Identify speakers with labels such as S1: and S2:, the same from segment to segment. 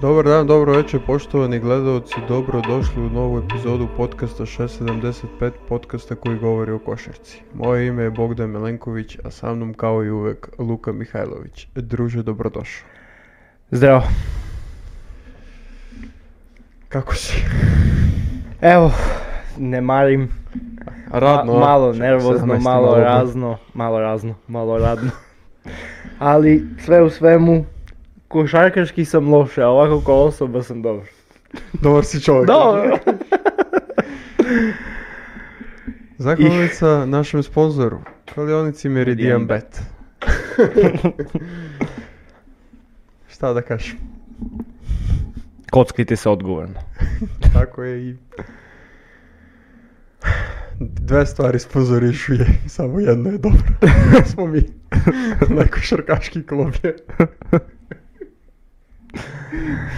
S1: Dobar dan, dobro večer, poštovani gledalci, dobro došli u novu epizodu podcasta 675, podcasta koji govori o košarci. Moje ime je Bogdan Milenković, a sa mnom kao i uvek Luka Mihajlović. Druže, dobrodošao.
S2: Zdravo.
S1: Kako si?
S2: Evo, ne marim.
S1: Radno,
S2: Ma-
S1: a?
S2: malo
S1: 17.
S2: nervozno, malo
S1: malo
S2: razno, malo razno, malo radno. Ali sve u svemu, košarkaški sam loše, a ovako kao osoba sam dobar.
S1: Dobar si čovjek.
S2: Dobro.
S1: Zahvalnica našem sponzoru, kladionici Meridian
S2: Meridian
S1: Bet. Šta da kažem,
S2: Kockajte se odgovorno.
S1: tako je i... Dve stvari sponzorišu je, samo jedno je dobro. Smo mi na košarkaški klub je.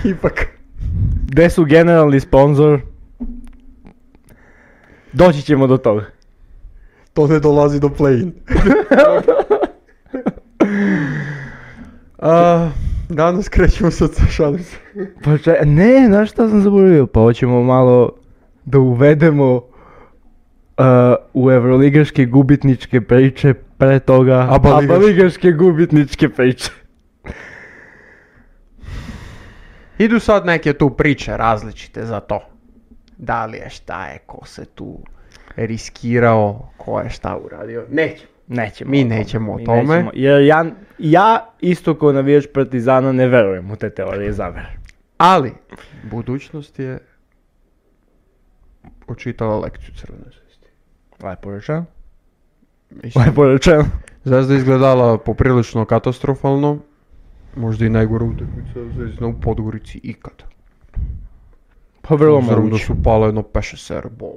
S1: Ipak.
S2: Gde su generalni sponzor? Doći ćemo do toga.
S1: to ne dolazi do play-in. A, danas krećemo sad sa šalim se.
S2: Pa čaj- ne, znaš šta sam zaboravio? Pa hoćemo malo da uvedemo uh, u evroligaške gubitničke priče pre toga
S1: Abaligaške.
S2: abaligaške gubitničke priče.
S3: Idu sad neke tu priče različite za to. Da li je šta je, ko se tu riskirao, ko je šta uradio. Nećemo.
S2: Nećemo.
S3: Mi
S2: o tome,
S3: nećemo o
S2: mi
S3: tome.
S2: nećemo, jer ja, ja isto kao navijač Partizana ne verujem u te teorije zavere.
S3: Ali, budućnost je očitala lekciju crvenoj zvijezdi.
S2: Lepo rečeno.
S3: Mislim,
S2: Lepo rečeno.
S1: Zvezda je izgledala poprilično katastrofalno. Možda i najgora utakmica Zvezdina u Podgorici ikada.
S2: Pa vrlo
S1: Obzirom da
S2: moguće.
S1: su pala jedno peše ser bola.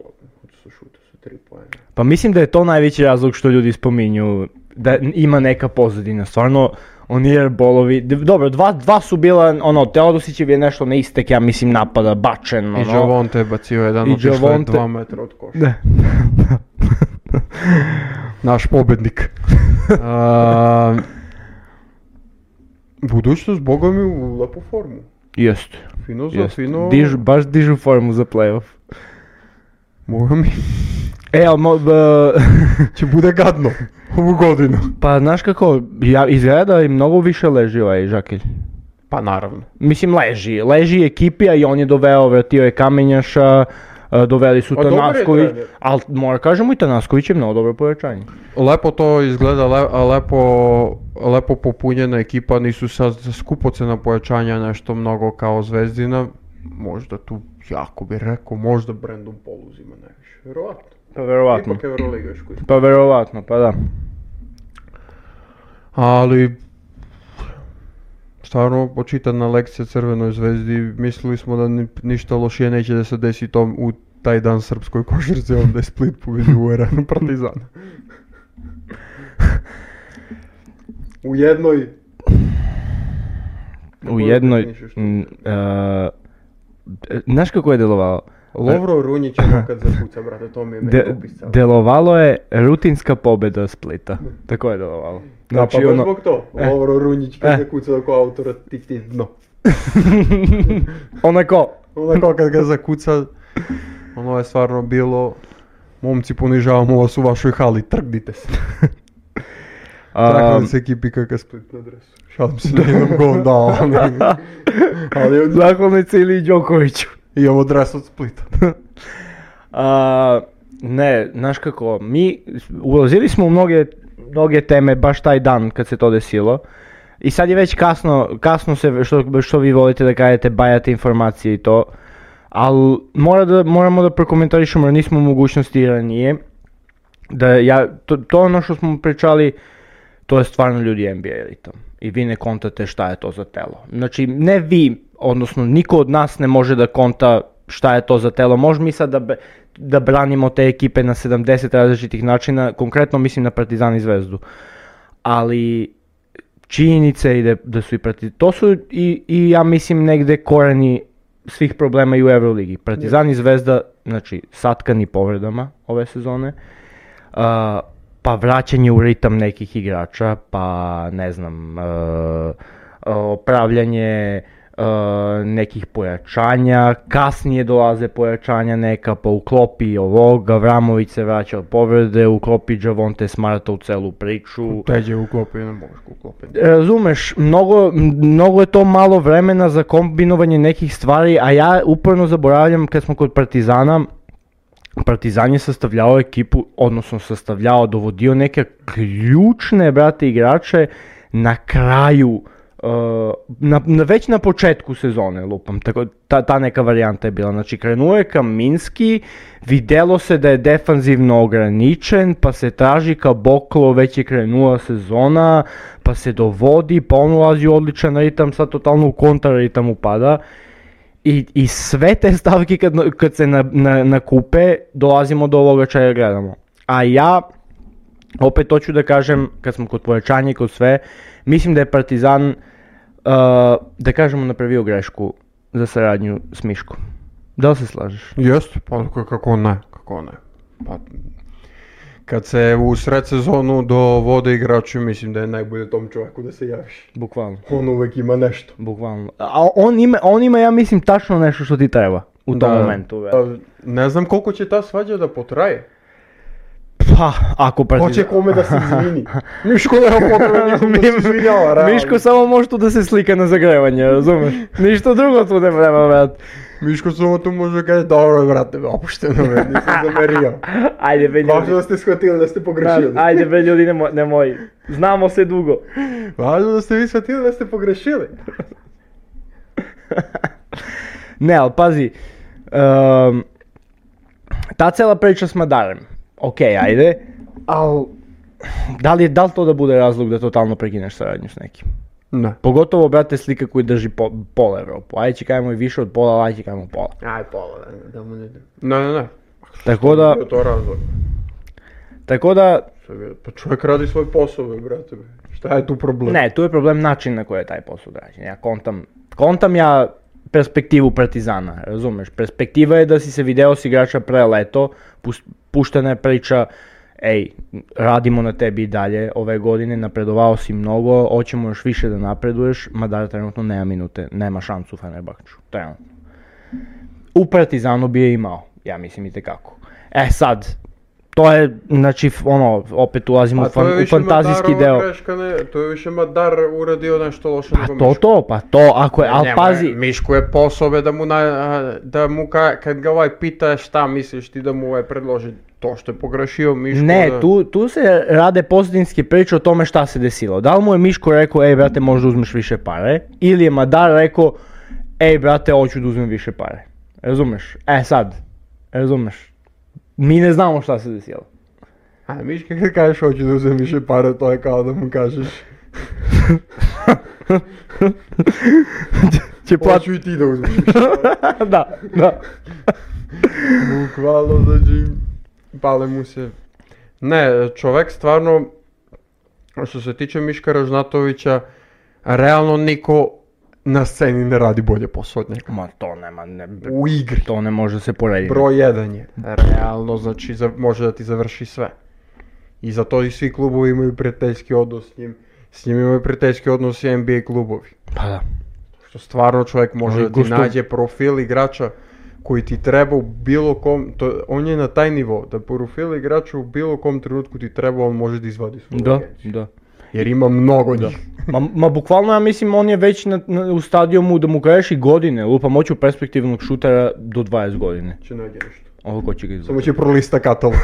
S1: Su šute sa tri poena.
S2: Pa mislim da je to najveći razlog što ljudi spominju da n- ima neka pozadina. Stvarno, oni airbolovi, d- dobro, dva, dva su bila, ono, Teodosićev je nešto na istek, ja mislim, napada, bačen, ono.
S1: I Javonte je bacio jedan,
S2: I
S1: otišao je
S2: Javonte-
S1: dva metra od koša.
S2: Da.
S1: Naš pobednik. A, budućnost, boga mi, u lepu formu.
S2: Jeste,
S1: Fino za
S2: jeste.
S1: fino.
S2: Dižu, baš dižu formu za playoff.
S1: Boga mi,
S2: E, ali, mo- b-
S1: će bude gadno ovu godinu.
S2: pa znaš kako, ja, izgleda da im mnogo više leži ovaj Žakelj.
S3: Pa naravno.
S2: Mislim, leži. Leži ekipi, a i on je doveo, vratio je Kamenjaša, e, doveli su
S1: A dobar je
S2: Tanasković,
S1: trener.
S2: ali moram kažemo i Tanasković je mnogo dobro pojačanje.
S1: Lepo to izgleda, le- a lepo, lepo popunjena ekipa, nisu sad skupocena pojačanja nešto mnogo kao Zvezdina. Možda tu, jako bi rekao, možda Brandon Paul uzima najviše. Verovatno.
S2: Pa verovatno.
S1: Ipak Euroligaško
S2: Pa verovatno, pa da.
S1: Ali, stvarno, počitana lekcija Crvenoj zvezdi, mislili smo da ni- ništa lošije neće da se desi tom u taj dan srpskoj košarci, onda je Split pobedio u Arenu Partizana. u jednoj...
S2: U
S1: je
S2: jednoj...
S1: definišeš to?
S2: m, e, Znaš kako je delovalo?
S1: Lovro Runjić ono kad zakuca, brate, to mi je
S2: De-
S1: meni opisao.
S2: delovalo je rutinska pobeda Splita. Tako je delovalo.
S1: da, pa baš
S2: ono-
S1: zbog to,
S2: e.
S1: Lovro Runjić kad
S2: E.
S1: zakuca oko autora, ti ti dno.
S2: Onako,
S1: Onako kad ga zakuca, ono je stvarno bilo, momci ponižavamo vas u vašoj hali, trgnite se.
S2: a,
S1: Trgnuli se ekipi kakav split na dresu. Šalim se, jednom gol dao. ali- Ali on-
S2: Zahvalnica ili Đokoviću.
S1: i ovo dres od splita.
S2: A, ne, znaš kako, mi ulazili smo u mnoge, mnoge teme baš taj dan kad se to desilo. I sad je već kasno, kasno se, što, što vi volite da kažete, bajate informacije i to. Ali mora da, moramo da prokomentarišemo, jer nismo u mogućnosti ranije. Da ja, to, to ono što smo pričali, to je stvarno ljudi NBA elitom. I vi ne kontate šta je to za telo. Znači, ne vi, odnosno niko od nas ne može da konta šta je to za telo. Možemo mi sad da, be- da branimo te ekipe na 70 različitih načina, konkretno mislim na Partizan i Zvezdu. Ali činjenica je da, da su i Partizan, to su i, i ja mislim negde koreni svih problema i u Euroligi. Partizan i Zvezda, znači, satkani povredama ove sezone, Uh, pa vraćanje u ritam nekih igrača, pa ne znam, uh, uh, e, opravljanje uh, e, nekih pojačanja, kasnije dolaze pojačanja neka, pa uklopi ovog, Gavramović se vraća od povrede, uklopi Javonte Smarta u celu priču.
S1: Teđe uklopi, ne možeš uklopiti.
S2: Razumeš, mnogo, mnogo je to malo vremena za kombinovanje nekih stvari, a ja uporno zaboravljam kad smo kod Partizana, Partizan je sastavljao ekipu, odnosno sastavljao, dovodio neke ključne, brate, igrače na kraju, e, na, na- već na početku sezone, lupam, tako, ta, ta neka varijanta je bila. Znači, krenuo je ka Minski, videlo se da je defanzivno ograničen, pa se traži ka Boklo, već je krenula sezona, pa se dovodi, pa on ulazi u odličan ritam, sad totalno u kontraritam upada. I, I sve te stavke kad, kad se na, na, nakupe, dolazimo do ovoga čega gledamo. A ja, opet hoću da kažem, kad smo kod pojačanja i kod sve, mislim da je Partizan, uh, da kažemo, napravio grešku za saradnju s Miškom. Da li se slažeš?
S1: Jeste, pa k- kako ne, kako ne. Pa, kad se u sred sezonu dovode igrači, mislim da je najbolje tom čovjeku da se javiš.
S2: Bukvalno.
S1: On uvek ima nešto.
S2: Bukvalno. A on ima, on ima, ja mislim, tačno nešto što ti treba u tom
S1: Da.
S2: momentu. brate.
S1: Pa, ne znam koliko će ta svađa da potraje.
S2: Pa, ako
S1: Hoće
S2: Partizan...
S1: kome da se izvini. Miško nema potrebe nikom da se izvinjava, realno.
S2: Miško samo može tu da se slika na zagrevanje, razumeš? Ništa drugo tu ne treba, brat.
S1: Miško samo tu može da kaže, dobro, brate, opušteno, me, nisam zamerio.
S2: Ajde, be
S1: Važno
S2: ljudi.
S1: da ste shvatili da ste pogrešili.
S2: Brat, Ajde, be ljudi, nemoj, nemoj. Znamo se dugo.
S1: Važno da ste vi shvatili da ste pogrešili.
S2: Ne, ali pazi, ehm, ta cela priča s Madarem, ok, ajde, ali da li, je- da li to da bude razlog da totalno prekineš saradnju s nekim?
S1: Ne.
S2: Pogotovo, brate, slika koji drži po, pola Evropu. Ajde, čekajmo i više od pola, ali ajde, čekajmo pola.
S1: Aj, pola, da mu ne... Ne, ne, ne.
S2: Tako da,
S1: Bio to razlog.
S2: tako da,
S1: Šta bi- Pa čovjek radi svoj posao, be, brate. be. Šta je tu problem?
S2: ne, tu je problem način na koji je taj posao građen. Ja kontam, kontam ja perspektivu Partizana, razumeš? Perspektiva je da si se video s igrača pre leto, pus- puštena je priča, ej, radimo na tebi i dalje ove godine, napredovao si mnogo, hoćemo još više da napreduješ, Madar trenutno nema minute, nema šansu u Fenerbahču, trenutno. U Partizanu bi je imao, ja mislim i tekako. E sad, to je, znači, f- ono, opet ulazimo u,
S1: A Pa to je
S2: fan, u
S1: više
S2: fantazijski
S1: Madarova
S2: deo.
S1: greška, ne, to je više Madar uradio nešto loše
S2: Pa
S1: nego
S2: to
S1: Miško.
S2: to, pa to, ako je, ali
S1: Njemu je-
S2: pazi,
S1: Miško je posao be, da mu, na, a, da mu ka, kad ga ovaj pita šta misliš ti da mu ovaj predloži to što je pogrešio Miško.
S2: ne,
S1: da...
S2: tu, tu se rade pozadinske priče o tome šta se desilo. Da li mu je Miško rekao, ej brate, možda uzmeš više pare, ili je Madar rekao, ej brate, hoću da uzmem više pare. Razumeš? E sad, razumeš? Mi ne znamo šta se desilo.
S1: A Miško kad kažeš hoću da uzem više para, to je kao da mu kažeš
S2: Će plati...
S1: hoću i ti da uzmeš više.
S2: da, da.
S1: Bukvalno, znači, pale mu se. Ne, čovek stvarno, što se tiče Miška Ražnatovića, realno niko na sceni ne radi bolje posao od njega.
S2: Ma to nema, ne,
S1: U igri.
S2: to ne može se porediti.
S1: Broj jedan je. Realno, znači, za- može da ti završi sve. I zato i svi klubovi imaju prijateljski odnos s njim. S njim imaju prijateljski odnos i NBA klubovi.
S2: Pa da.
S1: Što stvarno čovjek može
S2: Ali
S1: da ti
S2: gusto-
S1: nađe profil igrača koji ti treba u bilo kom, to, on je na taj nivo, da profil igrača u bilo kom trenutku ti treba, on može da izvadi svoju
S2: Da,
S1: agenciju.
S2: da.
S1: Jer ima mnogo njih.
S2: Ma, ma bukvalno ja mislim on je već na, na- u stadijumu da mu kažeš i godine, lupa moću perspektivnog šutera do 20 godine.
S1: Će nađe nešto.
S2: Ovo ko će ga izvući?
S1: Samo će prolista katalog.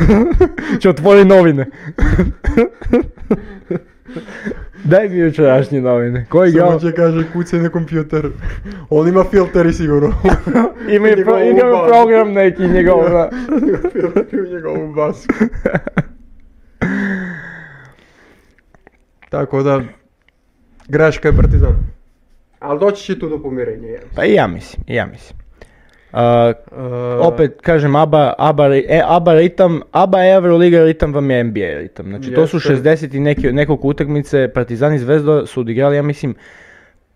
S2: Će otvori novine. Daj mi jučerašnje novine. Koji ga?
S1: Samo će kaže kucaj na kompjuter. On ima filteri sigurno.
S2: Ima i pro,
S1: njegovu
S2: ima
S1: bazu.
S2: program neki njegov. da.
S1: Ima filteri u njegovu basu. Tako da, greška je partizan. Ali doći će tu do pomirenja. jel?
S2: Pa i ja mislim, i ja mislim. A,
S1: E,
S2: opet kažem ABA, ABA, ri- e, ABA ritam, ABA Euroliga ritam vam je NBA ritam. Znači to su
S1: Jeste.
S2: 60 i neke, nekoliko utakmice, Partizan i Zvezda su odigrali, ja mislim,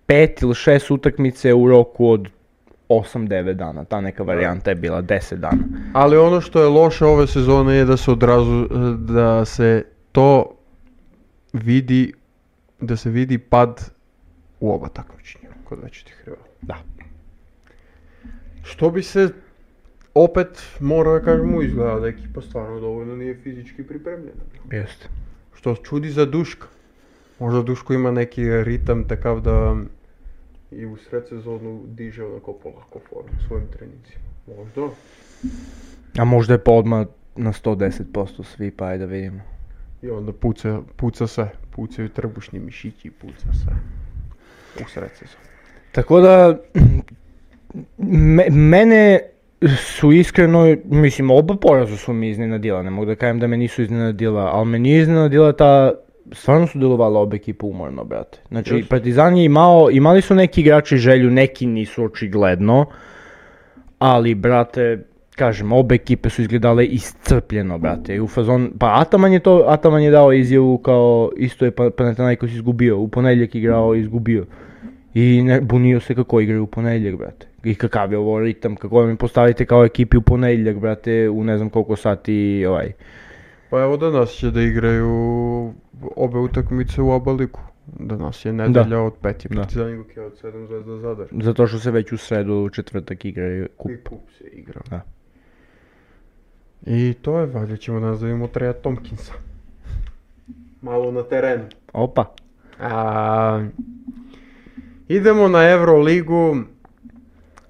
S2: pet ili šest utakmice u roku od 8-9 dana, ta neka varijanta je bila 10 dana.
S1: Ali ono što je loše ove sezone je da se odrazu, da se to vidi, da se vidi pad u oba takmičenja kod većih rivala.
S2: Da.
S1: Što bi se opet morao da kažemo izgleda da ekipa stvarno dovoljno nije fizički pripremljena.
S2: Jeste.
S1: Što čudi za Duška. Možda Duško ima neki ritam takav da i u sred sezonu diže onako polako formu svojim trenicima. Možda.
S2: A možda je pa odmah na 110% svi, pa ajde da vidimo.
S1: I onda puca, puca sve. Pucaju trbušni mišići i puca sve. U sred sezonu.
S2: Tako da, me- mene su iskreno, mislim, oba poraza su mi iznenadila, ne mogu da kažem da me nisu iznenadila, ali me nije iznenadila ta, stvarno su delovala oba ekipa umorno, brate. Znači,
S1: Jesu.
S2: Partizan je imao, imali su neki igrači želju, neki nisu očigledno, ali, brate, kažem, obe ekipe su izgledale iscrpljeno, brate. U fazon, pa Ataman je to, Ataman je dao izjavu kao, isto je Pa- Panathinaikos izgubio, u ponedjeljak igrao, izgubio. I ne, bunio se kako igraju u ponedjeljak, brate. I kakav je ovo ritam, kako mi postavite kao ekipi u ponedjeljak, brate, u ne znam koliko sati, ovaj.
S1: Pa evo danas će da igraju obe utakmice u Abaliku. Danas je nedelja od pet je
S2: Da.
S1: Partizan i Lukija od sedam zvezda Zadar.
S2: Zato što se već u sredu, u četvrtak igraju kup.
S1: I kup se igra.
S2: Da.
S1: I to je, valjda ćemo danas da vidimo Treja Tomkinsa. Malo na terenu.
S2: Opa.
S1: A, idemo na Euroligu,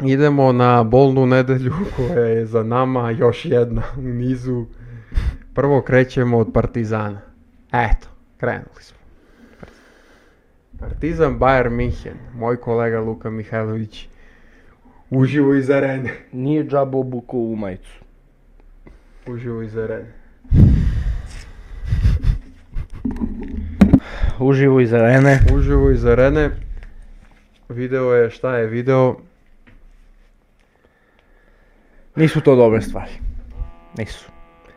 S1: idemo na bolnu nedelju koja je za nama još jedna u nizu. Prvo krećemo od Partizana. Eto, krenuli smo. Partizan Bayern München, moj kolega Luka Mihajlović, uživo iz arene.
S2: Nije džabo obuku u majicu.
S1: Uživo iz arene.
S2: Uživo iz arene.
S1: Uživo iz arene. Video je šta je video.
S2: Nisu to dobre stvari. Nisu.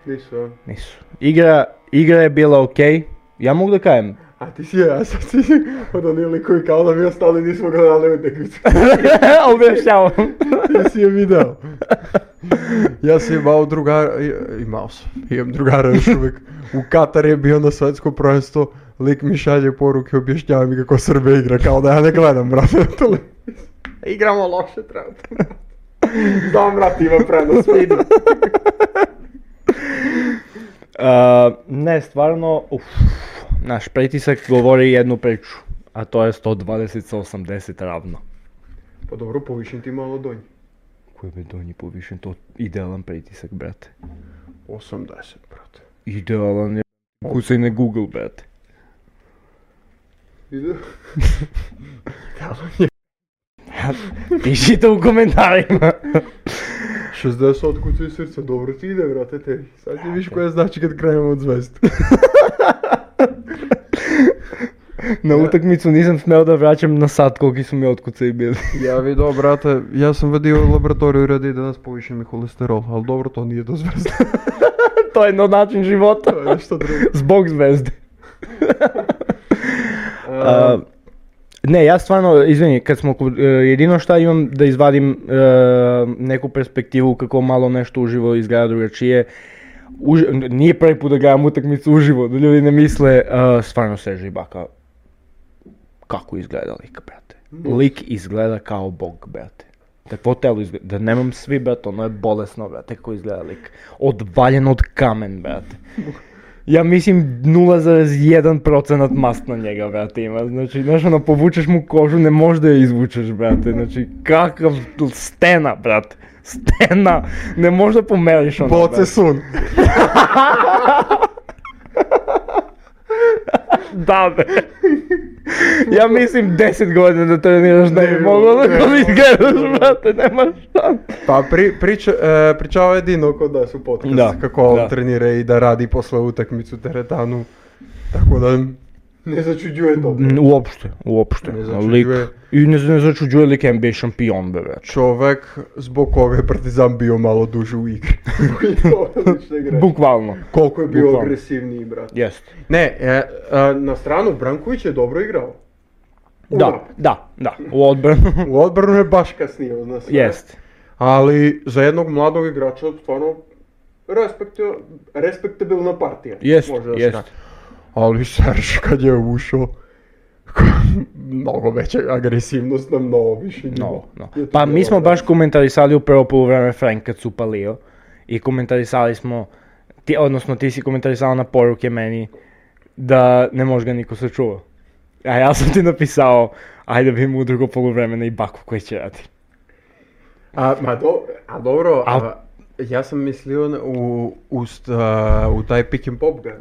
S1: Nisu.
S2: Nisu. Igra, igra je bila okej. Ja mogu da kažem.
S1: A ti si, a sad si od onih likovi kao da mi ostali nismo gledali utakmicu.
S2: Objašnjavam.
S1: Ti si je video. ja sam imao drugara, i- imao sam, imam drugara još uvijek. U Katar je bio na svetsko prvenstvo, lik mi šalje poruke, objašnjava mi kako Srbe igra, kao da ja ne gledam, brate, na televiziji. Igramo loše, trenutno. Znam, brate, ima prenos, vidim.
S2: A, ne, stvarno, uf, naš pritisak govori jednu priču, a to je 120 sa 80 ravno.
S1: Pa dobro, povišim ti malo donji.
S2: Koji bi donji povišen, to idealan pritisak, brate.
S1: 80, brate.
S2: Idealan je, kucaj na Google, brate.
S1: Vidio?
S2: Pišite u komentarima.
S1: 60 od kuca i srca, dobro ti ide, brate, tebi. Sad ti viš koja znači kad krenemo od zvezda.
S2: na utakmicu nisam smeo da vraćam na sat koliki su mi otkucaj bili.
S1: ja vidio, brate, ja sam vadio laboratoriju radi i danas poviše mi holesterol, ali dobro, to nije do zvezda.
S2: to je no način života.
S1: to je nešto drugo.
S2: Zbog zvezde.
S1: Eh,
S2: A, E, ne, ja stvarno, izvini, kad smo kod, e, jedino šta imam da izvadim e, neku perspektivu kako malo nešto uživo izgleda drugačije. Uži- n- nije prvi put da gledam utakmicu uživo, da ljudi ne misle, e, stvarno Serge Ibaka, kako izgleda lik, brate. Lik izgleda kao bog, brate. Takvo telo izgleda, da nemam svi, brate, ono je bolesno, brate, kako izgleda lik. Odvaljen od kamen, brate. Ja mislim 0,1% mast na njega, brate, ima. Znači, znaš, ono, povučeš mu kožu, ne možeš da je izvučeš, brate. Znači, kakav tu- stena, brate. Stena! Ne možeš da pomeriš ono, brate.
S1: sun.
S2: Da, be. Ja mislim 10 godina da treniraš da bi
S1: Ne,
S2: moglo da
S1: ne,
S2: ga
S1: ne,
S2: izgledaš, brate, nema šta.
S1: Pa pri, priča, e, pričao je Dino kod nas u podcast,
S2: Da,
S1: kako on
S2: da.
S1: trenira i da radi posle utakmicu teretanu. Tako da... Mm, Ne začuđuje to.
S2: Uopšte, uopšte.
S1: Ne znači
S2: lik,
S1: začuđuje.
S2: I ne, ne začuđuje lik NBA šampion, be, brate.
S1: Čovek zbog koga je Partizan bio malo duže u igri.
S2: Bukvalno.
S1: Koliko je bio
S2: Bukvalno.
S1: agresivniji, brate.
S2: Jeste.
S1: Ne, e, a, na stranu Branković je dobro igrao.
S2: Da, da, da, u odbranu.
S1: U odbranu je baš kasnio, zna sve.
S2: Jest.
S1: Ali za jednog mladog igrača stvarno respekti- respektabilna partija.
S2: Jest,
S1: može da se
S2: jest.
S1: kaže. Ali Serž kad je ušao, mnogo veća agresivnost na mnogo više nivo.
S2: No, no.
S1: Je to
S2: Pa
S1: bilo
S2: mi smo
S1: dobro.
S2: baš komentarisali u prvo polovreme Frank kad su palio i komentarisali smo, ti, odnosno ti si komentarisala na poruke meni da ne može ga niko sačuvao. A ja sam ti napisao, ajde bi mu u drugo polovremena i Baku koji će raditi.
S1: A, ma do, a dobro,
S2: A-
S1: a, ja sam mislio na- u, u, sta- u taj pick and pop ga,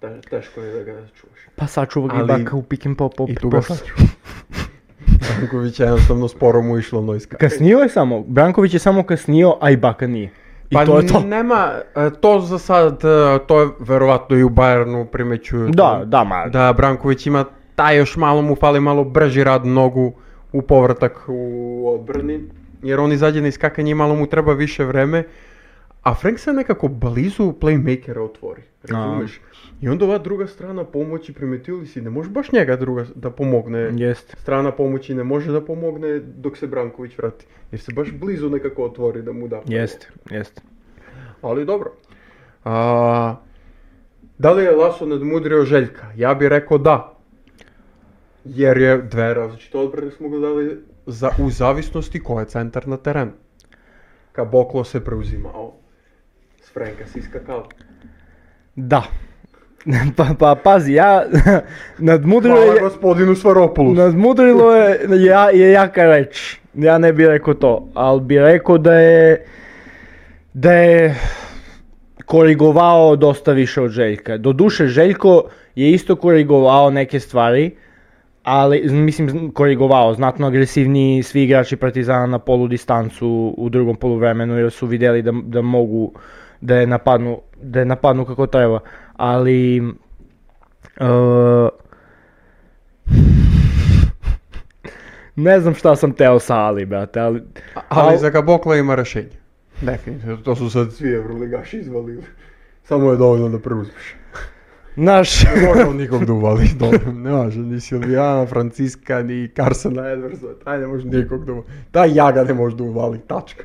S1: te- teško je da ga čuš.
S2: Pa sačuva ga i
S1: Ali-
S2: Baka u pick and pop
S1: I
S2: opet
S1: tu ga
S2: posle.
S1: Branković je jednostavno sporo mu išlo nojska.
S2: Kasnio je samo, Branković je samo kasnio, a i Baka nije. I
S1: Pa
S2: to je to.
S1: nema, e, to za sad, e, to je verovatno i u Bayernu primećuju.
S2: Da,
S1: to.
S2: da, ma,
S1: Da, Branković ima taj još malo mu fali malo brži rad nogu u povratak u odbrani. Jer on izađe na iskakanje i malo mu treba više vreme. A Frank se nekako blizu playmakera otvori, razumeš? I onda ova druga strana pomoći, primetili si, ne može baš njega druga da pomogne.
S2: jest.
S1: Strana pomoći ne može da pomogne dok se Branković vrati. Jer se baš blizu nekako otvori da mu da. prvo.
S2: Jest, jest.
S1: Ali dobro. A, da li je Laso nadmudrio Željka? Ja bih rekao da. Jer je dve različite odbrane smo gledali za, u zavisnosti ko je centar na terenu. Kaboklo se preuzimao. S Frenka si iskakao.
S2: Da. pa, pa pazi, ja nadmudrio
S1: Hvala
S2: je...
S1: gospodinu Svaropulu.
S2: Nadmudrilo je, ja, je jaka reč. Ja ne bih rekao to, ali bih rekao da je, da je korigovao dosta više od Željka. Doduše, Željko je isto korigovao neke stvari, ali, mislim, korigovao, znatno agresivniji svi igrači Partizana na polu distancu u drugom poluvremenu jer su vidjeli da, da mogu da je napadnu, da je napadnu kako treba, ali e, ne znam šta sam teo sa Ali, brate, ali...
S1: A- Ali
S2: al-
S1: za Kabokla ima rešenje. Definitivno. To su sad svi evroligaši izvalili. Samo je dovoljno da preuzmeš.
S2: Naš...
S1: Ne može on nikog da uvali dobro, ne može ni Silvijana, Franciska, ni Carsona Edwardsa, taj ne može nikog da uvali. Taj jaga ne može da uvali, tačka.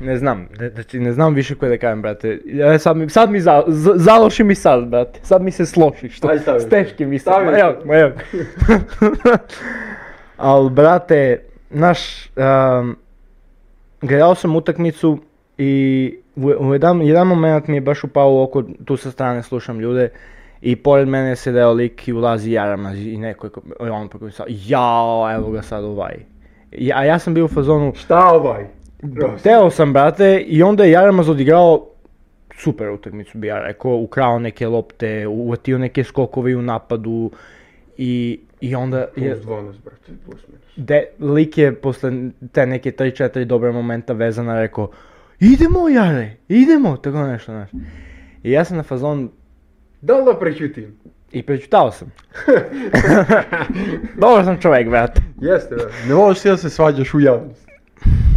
S2: Ne znam, ne- znači ne znam više koje da kažem, brate. Ja sad mi, sad mi za, z- zaloši mi sad, brate. Sad mi se sloši, što
S1: Aj, stavi.
S2: s teškim mi sad.
S1: Stavi.
S2: Ma evo, ma evo. Al, brate, naš, um, gledao sam utakmicu i u, u jedan, jedan moment mi je baš upao u oko, tu sa strane slušam ljude i pored mene se deo lik i ulazi Jaramaz i neko je, ko- on pa koji sa, jao, evo ga sad ovaj. I- a ja sam bio u fazonu,
S1: Šta ovaj?
S2: Teo sam, brate, i onda je Jaramaz odigrao super utakmicu, bi ja rekao, ukrao neke lopte, uvatio neke skokove i u napadu i, i onda je,
S1: Plus 12, brate, plus minus.
S2: de, lik je posle te neke 3-4 dobre momenta vezana rekao idemo Jare, idemo, tako nešto, znaš. I ja sam na fazon
S1: Da li da prećutim?
S2: i prečutao sam. Dobar sam čovjek, brate.
S1: Jeste, brate. Ne možeš ti da se svađaš u javnosti.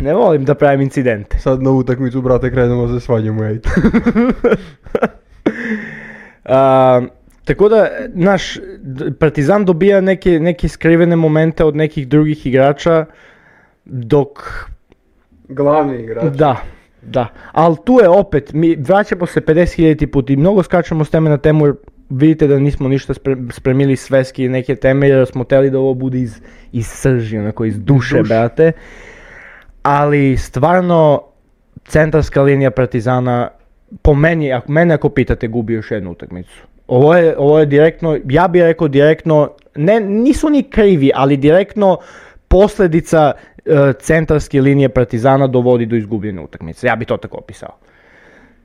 S2: Ne volim da pravim incidente.
S1: Sad na utakmicu, brate, krenemo da se svađamo, ej.
S2: A, tako da, naš, d- Partizan dobija neke, neke skrivene momente od nekih drugih igrača, dok,
S1: Glavni igrač.
S2: da, da, ali tu je opet, mi vraćamo se 50.000 put i mnogo skačemo s teme na temu jer vidite da nismo ništa spre- spremili sveski i neke teme jer smo teli da ovo bude iz, iz srži, onako iz duše,
S1: Duše.
S2: brate. Ali stvarno, centarska linija Partizana, po meni, ako, mene ako pitate, gubi još jednu utakmicu. Ovo je, ovo je direktno, ja bih rekao direktno, ne, nisu ni krivi, ali direktno posljedica e, centarske linije Partizana dovodi do izgubljene utakmice. Ja bi to tako opisao.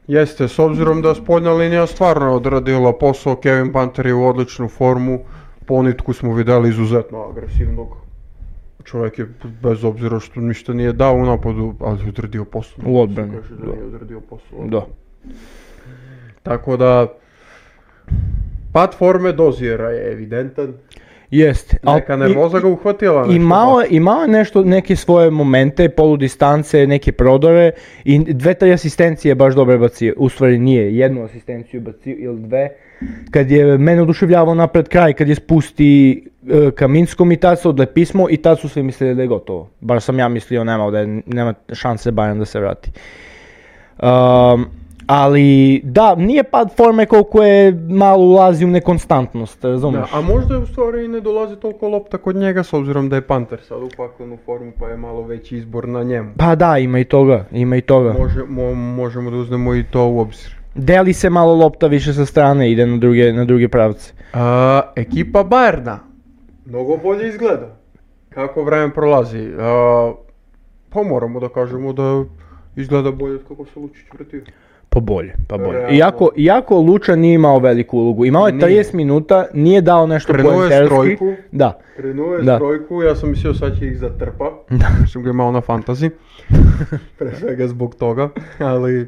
S1: Jeste, s obzirom da spoljna linija stvarno odradila posao, Kevin Panter je u odličnu formu, ponitku smo vidjeli izuzetno agresivnog. Čovjek je, bez obzira što ništa nije dao u napadu, ali je odradio posao.
S2: U odbrani,
S1: Kaže da
S2: da.
S1: nije odradio posao.
S2: Da.
S1: Tako da, pad forme dozijera je evidentan.
S2: Jeste. al-
S1: Neka nervoza ga uhvatila. nešto. pa-
S2: Imao je, imao je nešto, neke svoje momente, poludistance, neke prodore i dve, tri asistencije je baš dobro bacio. U stvari nije, jednu asistenciju bacio ili dve. Kad je mene oduševljavao napred kraj, kad je spusti e, Kaminskom i tad se odlepi smo i tad su svi mislili da je gotovo. Bar sam ja mislio nema, da je- nema šanse Bayern da se vrati. Um, Ali da, nije pad forme koliko je malo ulazi u nekonstantnost,
S1: Da,
S2: razumiješ?
S1: a možda je u stvari i ne dolazi toliko lopta kod njega s obzirom da je Panter sad u paklenu formu pa je malo veći izbor na njemu.
S2: Pa da, ima i toga, ima i toga.
S1: Može, mo- možemo da uzmemo i to u obzir.
S2: Deli se malo lopta više sa strane, ide na druge, na druge pravce.
S1: A, ekipa Bajerna. Mnogo bolje izgleda. Kako vreme prolazi. A, pa moramo da kažemo da izgleda bolje od kako se Lučić vratio.
S2: Pa bolje, pa bolje.
S1: Realno.
S2: Iako, iako Luča nije imao veliku ulogu, imao je
S1: Nije.
S2: 30 minuta, nije dao nešto
S1: Krenuo je s
S2: poenterski.
S1: trojku.
S2: Da.
S1: Krenuo je
S2: Da.
S1: s trojku, ja sam mislio sad će ih zatrpa.
S2: Da.
S1: Jer sam ga imao na fantazi. Pre svega zbog toga. Ali,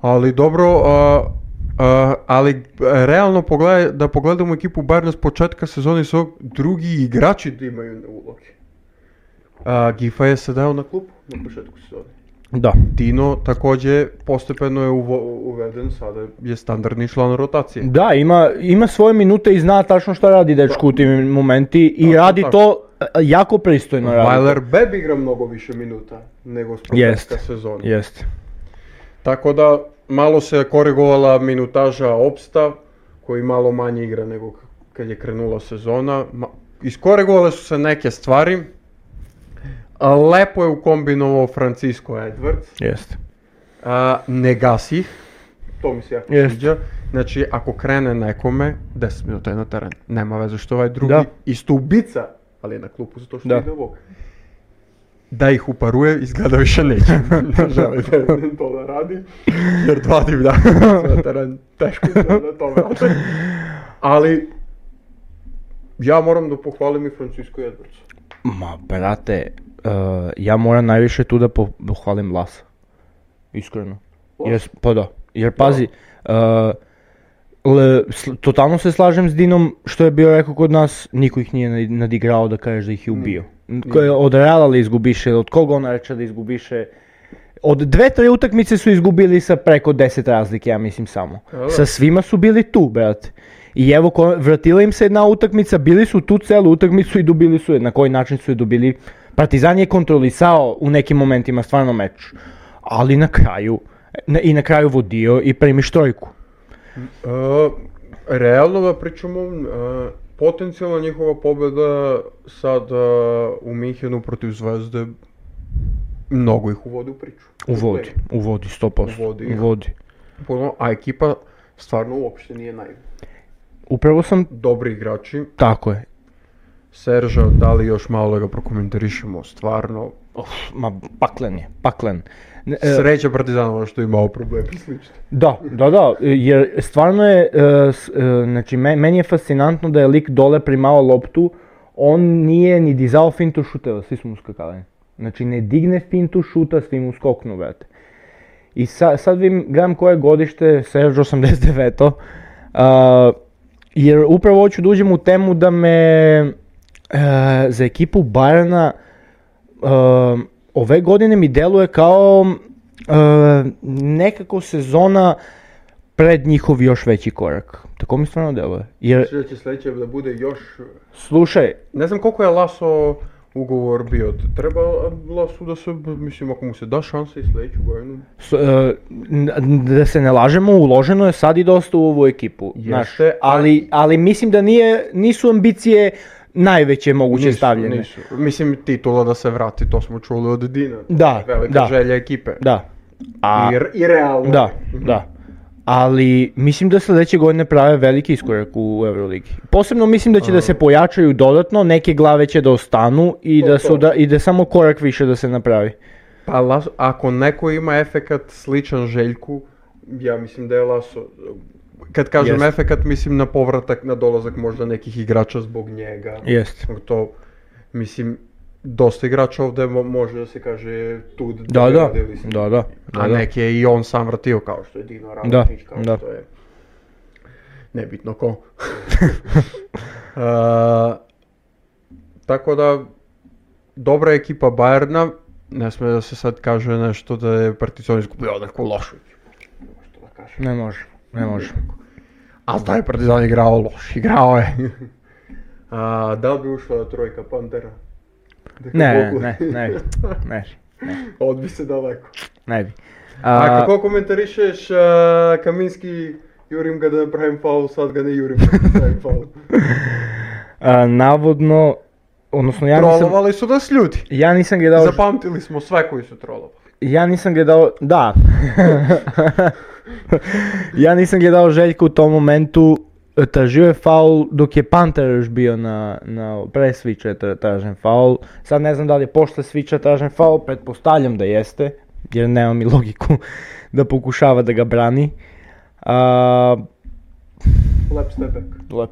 S1: ali dobro, a, a, ali a, realno pogledaj, da pogledamo ekipu Bajerna s početka sezone su drugi igrači da imaju uloge. A, Gifa je se dao na klupu na početku sezone.
S2: Da.
S1: Dino također postepeno je uvo- uveden, sada je standardni član rotacije.
S2: Da, ima, ima svoje minute i zna tačno šta radi dečko u tim momenti i
S1: Tako,
S2: radi
S1: tako.
S2: to e, jako pristojno radi.
S1: Weiler Beb igra mnogo više minuta nego s početka
S2: Jeste.
S1: sezone.
S2: Jeste.
S1: Tako da malo se korigovala minutaža Opsta koji malo manje igra nego k- kad je krenula sezona. Ma, iskorigovale su se neke stvari. A, Lepo je ukombinovao Francisco Edwards.
S2: Jeste.
S1: A, ne gasi ih. To mi se jako
S2: Jest.
S1: sviđa. Znači, ako krene nekome, 10 minuta je na teren. Nema veze što ovaj drugi
S2: Da.
S1: isto ubica, ali je na klupu zato što
S2: Da.
S1: ide ovog. Da ih uparuje, izgleda više neće. ne želi da to da radi, jer dva divlja na teren teško izgleda da to vrate. Ali, ja moram da pohvalim i Francisco Edwardsa.
S2: Ma, brate, e, ja moram najviše tu da po- pohvalim Lasa. Iskreno. Jer, s- pa da. Jer pazi, e, le- sl- totalno se slažem s Dinom što je bio rekao kod nas, niko ih nije nad- nadigrao da kažeš da ih je ubio. Ko je Od Reala li izgubiše, od koga ona reče da izgubiše. Od dve, tri utakmice su izgubili sa preko 10 razlike, ja mislim samo.
S1: da.
S2: Sa svima su bili tu, brate. I evo, ko- vratila im se jedna utakmica, bili su tu celu utakmicu i dobili su je. Na koji način su je dobili? Partizan je kontrolisao u nekim momentima stvarno meč. Ali na kraju, na- i na kraju vodio i primiš trojku.
S1: E, realno da pričamo, e, potencijalna njihova pobjeda sad e, u Minhenu protiv Zvezde, mnogo ih uvodi u priču.
S2: U vodi, u vodi, 100%.
S1: Uvodi
S2: U
S1: ih.
S2: vodi.
S1: Potpuno, A ekipa stvarno uopšte nije naivna.
S2: Upravo sam,
S1: Dobri igrači,
S2: tako je.
S1: Serža, da li još malo da ga prokomentarišemo, stvarno.
S2: Uf, ma paklen je, paklen. Ne, e,
S1: Sreća Partizanova što je imao problem i slično.
S2: Da, da, da, jer stvarno je, e, s- e, znači me- meni je fascinantno da je lik dole primao loptu, on nije ni dizao fintu šuteva, svi su mu skakali. Znači ne digne fintu šuta, svi mu skoknu, brate. I sa, sad vidim, gledam koje je godište, Serge 89 a, jer upravo hoću da uđem u temu da me e, za ekipu Bajerna um, ove godine mi deluje kao um, nekako sezona pred njihov još veći korak. Tako mi stvarno deluje. Jer,
S1: Mislim da će sljedeće da bude još...
S2: slušaj,
S1: Ne znam koliko je Laso ugovor bio. Treba Lasu da se, mislim, ako mu se da šansa i sljedeću godinu.
S2: s- e, n- n- da se ne lažemo, uloženo je sad i dosta u ovu ekipu. znaš.
S1: Jeste,
S2: ali, ali mislim da nije, nisu ambicije najveće moguće
S1: Nisu,
S2: stavljene.
S1: nisu. Mislim, titula da se vrati, to smo čuli od Dina.
S2: Da,
S1: Velika
S2: da.
S1: želja ekipe.
S2: Da.
S1: I, r- i realno.
S2: Da,
S1: Mhm.
S2: da. Ali mislim da sljedeće godine prave veliki iskorak u Euroligi. Posebno mislim da će da se pojačaju dodatno, neke glave će da ostanu i da su da ide samo korak više da se napravi.
S1: Pa Laso, ako neko ima efekat sličan željku, ja mislim da je Laso... Kad kažem
S2: Jeste.
S1: efekat, mislim na povratak, na dolazak možda nekih igrača zbog njega.
S2: Jeste.
S1: To, mislim, dosta igrača ovdje mo- može da se kaže tu
S2: Da, da.
S1: radili smo.
S2: Da, da.
S1: A
S2: da, da.
S1: neki je i on sam vrtio kao što je Dino Radnić, kao
S2: da.
S1: što je nebitno ko. A, tako da, dobra ekipa Bajerna, ne sme da se sad kaže nešto da je Partizan izgubio neku lošu ekipu. Što da kažem.
S2: Ne može, ne može.
S1: A da je Partizan igrao loš, igrao je. A, da li bi ušla trojka Pantera? Da ga
S2: Ne,
S1: mogu-
S2: ne, ne, bi, ne, bi,
S1: Odbi se daleko.
S2: ne bi.
S1: А, какво коментаришеш а, Камински, юрим eh, ga да направим фаул, sad ga ne юрим да направим фаул.
S2: а, наводно, odnosno ja nisam,
S1: Троловали su nas ljudi.
S2: ja nisam gledao,
S1: Zapamtili smo sve koji su trolovali.
S2: ja nisam gledao, da, ja nisam gledao Željka u tom momentu, tražio je faul dok je Panter još bio na, na pre sviča je tra- tražen faul, sad ne znam da li je pošle sviča tražen faul, pretpostavljam da jeste, jer nema mi logiku da pokušava da ga brani. A,
S1: Lep stepek.
S2: lep,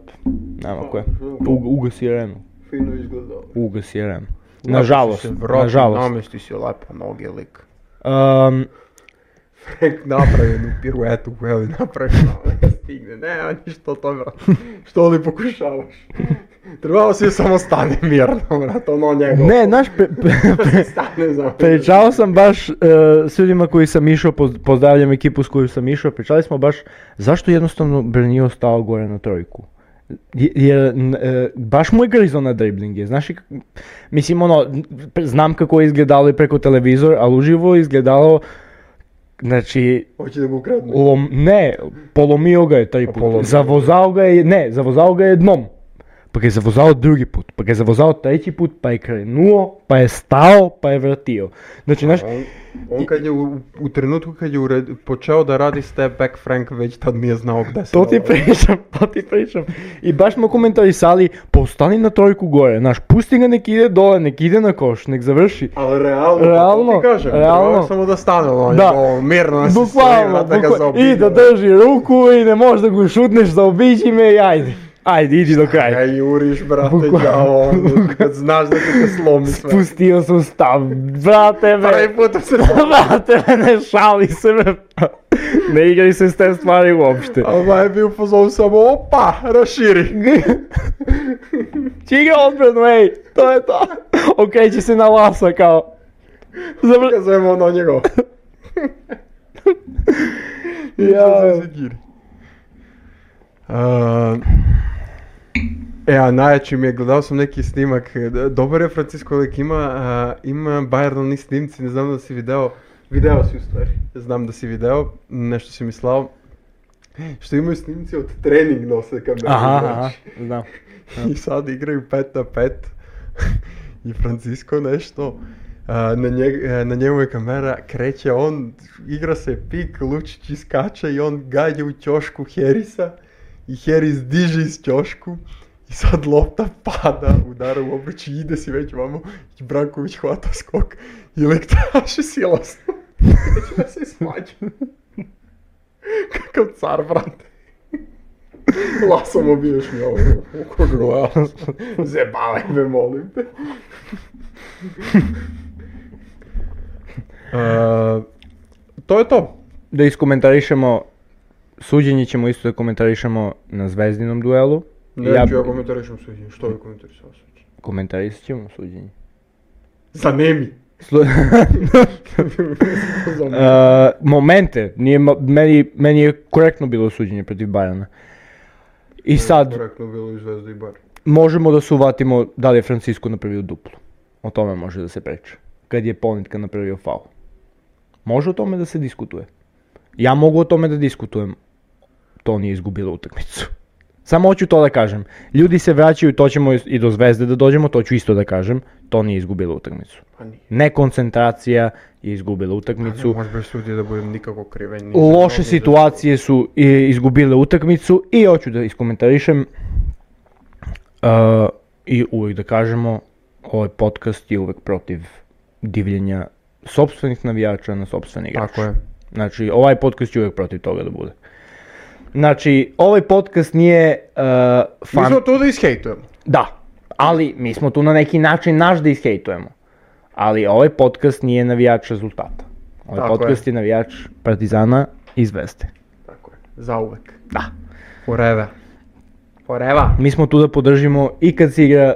S2: nema koje, Ug- ugasi Renu.
S1: Fino izgledao.
S2: Ugasi Ren. Nažalost, nažalost.
S3: Namesti si lepe noge lik.
S2: Um,
S1: Frank napravi jednu piruetu koju li napravi malo da stigne. Ne, a ništa od toga. Što li pokušavaš? Trebalo si je samo stane mirno, brat, ono njegovo.
S2: ne, znaš, pre, pre- pre-
S1: stane za
S2: pričao sam baš e, s ljudima koji sam išao, poz- pozdravljam ekipu s koju sam išao, pričali smo baš zašto jednostavno Brnio stao gore na trojku. Je- Jer n- e, baš mu je grizo na driblinge, znaš, i kak- mislim ono, n- pre- znam kako je izgledalo i preko televizor, ali uživo je izgledalo, znači,
S1: Hoće da ga ukradne.
S2: Lom, ne, polomio ga je taj put.
S1: polomio.
S2: Zavozao ga je, ne, zavozao ga je jednom. Pa ga je zavozao drugi put, pa ga je zavozao treći put, pa je krenuo, pa je stao, pa je vratio. Znači, znaš,
S1: On, on kad je u, u trenutku kad je ured, počeo da radi step back Frank već tad nije znao gde se
S2: to ti
S1: nalazi.
S2: pričam, to ti pričam. I baš smo komentarisali, pa ostani na trojku gore, znaš, pusti ga nek ide dole, nek ide na koš, nek završi.
S1: Ali realno,
S2: Realno,
S1: to ti kažem,
S2: realno.
S1: trebalo je samo da stane ono
S2: Da.
S1: njegovo, mirno da se stoji,
S2: Bukvalno,
S1: brat, da ga
S2: bukvalno,
S1: zaobiđe,
S2: i da
S1: brat.
S2: drži ruku i ne možeš da ga šutneš, zaobiđi me i ajde. Ajde, iđi do kraja.
S1: Aj, juriš, brate,
S2: Bukvalno.
S1: đavo, ono, kad znaš da ti se slomi sve.
S2: Spustio sam stav, brate me,
S1: Prvi put se
S2: brate me, ne šali se me, ne igraj se s te stvari uopšte.
S1: A Ovaj je bio u fazonu ja samo, opa, raširi.
S2: Čiga odbranu, ej, to je to, okreće se na lasa kao, Zabr...
S1: Kazujemo ono njegovo.
S2: Ja.
S1: se giri. A, E, a najjači mi je, gledao sam neki snimak, e, d- dobar je Francisco Lek, ima, a, ima bajerni snimci, ne znam da si video, video si u stvari, znam da si video, nešto si mi slao, što imaju snimci od trening nose kameru,
S2: Aha,
S1: znači.
S2: aha, znam.
S1: I sad igraju 5 na 5 i Francisco nešto. a, na, nje, e, na njemu je kamera, kreće on, igra se pik, Lučić iskače i on gađa u ćošku Herisa i Heris diže iz ćošku i sad lopta pada, udara u obruč i ide si već vamo i Branković hvata skok i lek traži silosno. Neće da se svađa. Kakav car, brate. Lasom obiješ mi ovo. Koga gledam. Zebavaj me, molim te. Uh, to je to.
S2: Da iskomentarišemo, suđenje ćemo isto da komentarišemo na zvezdinom duelu.
S1: Neću ja komentarišem suđenje. Što je komentarisao suđenje?
S2: Komentarisat ćemo suđenje.
S1: Zanemi.
S2: E, momente, nije, mo- meni, meni je korektno bilo suđenje protiv Bajana. I sad
S1: Korektno bilo i Zvezda i Bar.
S2: možemo da se uvatimo da li je Francisco napravio duplo. O tome može da se priča. Kad je Ponitka napravio faul. Može o tome da se diskutuje. Ja mogu o tome da diskutujem. To nije izgubilo utakmicu. Samo hoću to da kažem. Ljudi se vraćaju, to ćemo i do zvezde da dođemo, to ću isto da kažem. To nije izgubilo utakmicu.
S1: Pa nije.
S2: Nekoncentracija je izgubila
S1: Ne
S2: utakmicu.
S1: može bez sudija da budem nikako kriven. nisam
S2: Loše
S1: mogao
S2: situacije su i- izgubile utakmicu i hoću da iskomentarišem uh, i uvijek da kažemo ovaj podcast je uvijek protiv divljenja sopstvenih navijača na sopstveni
S1: da-
S2: igrač.
S1: Tako je.
S2: Znači, ovaj podcast je uvijek protiv toga da bude. Znači, ovaj podcast nije uh,
S1: Mi
S2: fan...
S1: smo tu da ishejtujemo.
S2: Da, ali mi smo tu na neki način naš da ishejtujemo. Ali ovaj podcast nije navijač rezultata. Ovaj
S1: Tako je.
S2: podcast je navijač Partizana i Zvezde.
S1: Tako je. Zauvek.
S2: Da.
S1: Forever. Forever.
S2: Mi smo tu da podržimo i kad se igra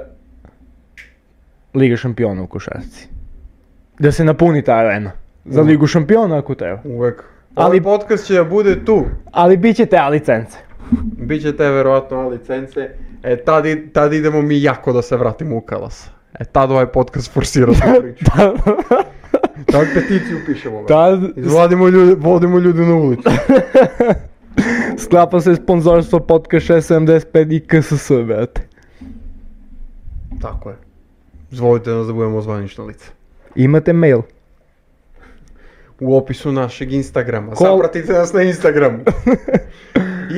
S2: Liga šampiona u košarci. Da se napuni ta arena. Za Ligu šampiona ako treba.
S1: Uvek.
S2: Ali-
S1: Ali podcast će da bude tu.
S2: Ali bit će te A licence.
S1: Biće te verovatno A licence. E, tad, i- tad idemo mi jako da se vratimo u Kalas. E, tad ovaj podcast forsira tu priču. Tad peticiju pišemo. brate.
S2: Tad
S1: Izvadimo ljude, vodimo ljude na ulicu.
S2: sklapa se sponzorstvo podcast 675 i KSS, brate.
S1: Tako je. Zvolite nas da budemo zvanična lica.
S2: Imate mail.
S1: U opisu našeg Instagrama.
S2: Ko-
S1: Zapratite nas na Instagramu.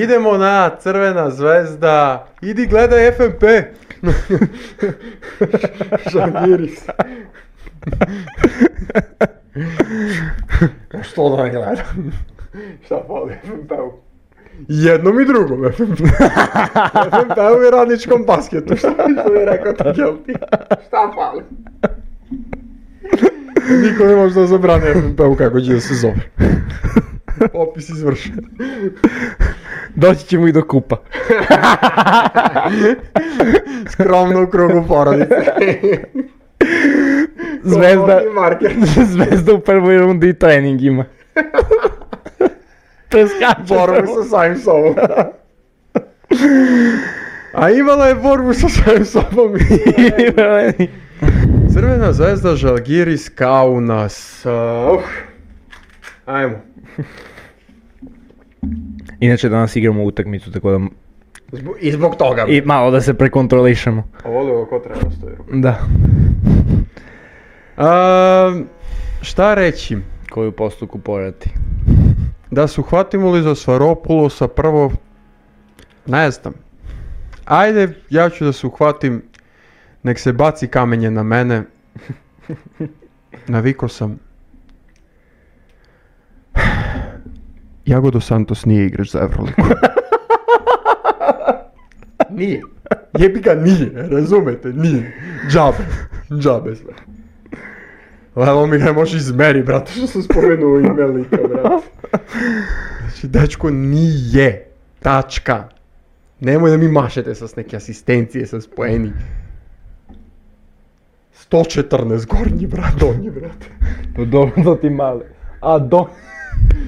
S1: Idemo na crvena zvezda. Idi gledaj FMP. Žangiri se.
S3: Što da ne gledam?
S1: Šta fali FMP-u? Jednom i drugom FMP. FMP-u i radničkom basketu. Šta mi je rekao to Gelti?
S3: Šta fali?
S1: Niko ne može da zabrani FMP-u kako će da se zove. Opis izvršen.
S2: Doći ćemo i do kupa.
S1: Skromno u krugu porodice.
S2: Zvezda,
S1: Slobodni marker.
S2: zvezda u prvoj rundi i trening ima. Preskače
S1: Borbu
S2: samo.
S1: sa samim sobom. A imala je borbu sa samim sobom. Crvena zvezda Žalgiris Kaunas. Uh, ajmo.
S2: Inače danas igramo utakmicu, tako da...
S1: Zbog, I zbog toga.
S2: I malo da se prekontrolišemo.
S1: Ovo je ovo ko treba stoji ruka.
S2: Da.
S1: Эм, šta reći?
S2: Koju postu kuporati?
S1: Da su hvatimo li za Svaropulosa prvo... Ne znam. Ajde, ja ću da se uhvatim. Nek se baci kamenje na mene. Naviko sam. Jagodo Santos nije igrač za Euroligu.
S3: Nije.
S1: Jebi ga nije, razumete, nije. Džabe, džabe sve. Lelo mi ga može izmeri, brate, što sam spomenuo ime lika, brate. Znači, dečko nije, tačka. Nemoj da mi mašete sa s neke asistencije, sa spojeni. 114 gornji, brate, donji, brate.
S2: No Pa dobro da ti male. A do...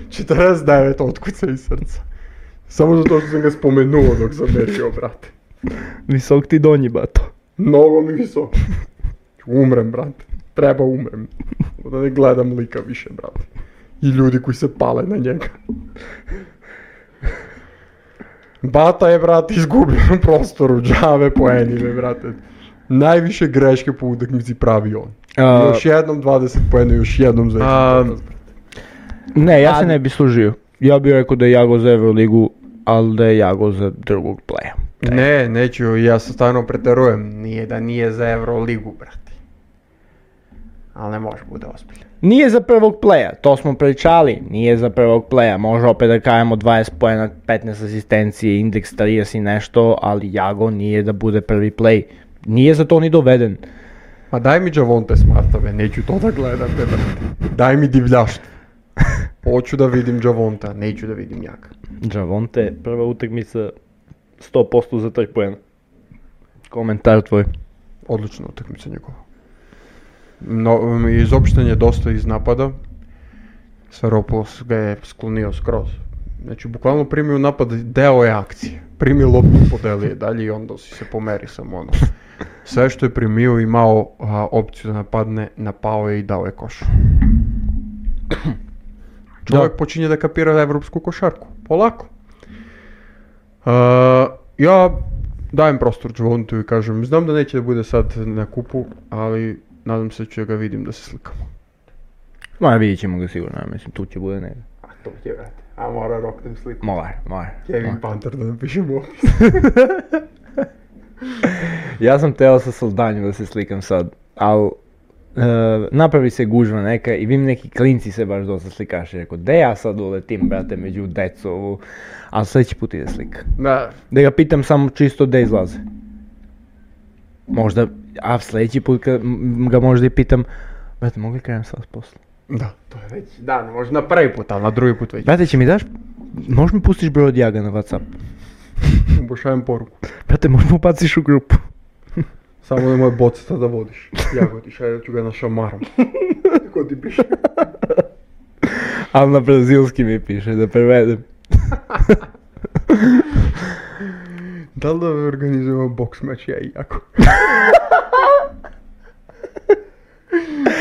S1: 49 otkuca iz srca. Samo zato što sam ga spomenuo dok sam merio, brate.
S2: Visok ti donji bato.
S1: Mnogo mi visoko. Umrem, brate. Treba umrem. Da ne gledam lika više, brate. I ljudi koji se pale na njega. Bata je, brate, izgubio na prostoru, džave po enime, brate. Najviše greške po utakmici pravi on.
S2: A,
S1: Još jednom 20 poena, još jednom za
S3: A,
S1: ekipu.
S2: ne, ja se ne bi služio. Ja bih rekao da je Jago za Euroligu, ali da je Jago za drugog playa.
S1: Ne, neću, ja se stvarno preterujem.
S3: Nije da nije za Euroligu, brate. Ali ne može bude ozbiljno.
S2: Nije za prvog playa, to smo pričali, nije za prvog playa, može opet da kajemo 20 poena, 15 asistencije, indeks 30 i nešto, ali Jago nije da bude prvi play. Nije za to ni doveden.
S1: Ma daj mi Javonte Smarta, be, neću to da gledam, be, brate. Daj mi divljaštvo. Hoću da vidim Javonta, neću da vidim jaka.
S2: Javonte, prva utakmica 100% za taj poena. Komentar tvoj.
S1: Odlična utakmica njegova. No, um, izopšten je dosta iz napada. Saropoulos ga je sklonio skroz. Znači, bukvalno primio napad, deo je akcije. Primi loptu, podeli je dalje i onda si se pomeri samo ono. Sve što je primio imao a, opciju da napadne, napao je i dao je koš. Čovjek počinje da kapira evropsku košarku. Polako. Uh, ja dajem prostor Džvontu i kažem, znam da neće da bude sad na kupu, ali nadam se da ću da ga vidim da se slikamo.
S2: Ma vidjet ćemo ga sigurno, ja mislim, tu će bude nega.
S3: A to je, brate. A mora rok da mi sliku.
S2: Molar, molar.
S1: Kevin Panther da napišem opis.
S2: Ja sam teo sa Soldanjem da se slikam sad, ali e, napravi se gužva neka i vidim neki klinci se baš dosta slikaše. Rekao, de ja sad uletim, brate, među decu ovu, ali sljedeći put ide slika.
S1: Da.
S2: Da ga pitam samo čisto gde izlaze. Možda, a sljedeći put kad m, ga možda i pitam, brate, mogu li krenem sad s posla?
S1: Da.
S3: To je već
S1: Да,
S3: dan, možda na prvi put, ali na drugi put već.
S2: Brate, će mi daš, možeš mi pustiš broj od Jaga na Whatsapp?
S1: Mu pošaljem poruku.
S2: Brate, možda mu baciš u grupu.
S1: Samo nemoj boceta da vodiš. Ja ga ti šaljem, ću ga našamaram. Tako ti piše.
S2: Ali na brazilski mi piše, da prevedem.
S1: Da li da organizujemo boks meč ja i Jako?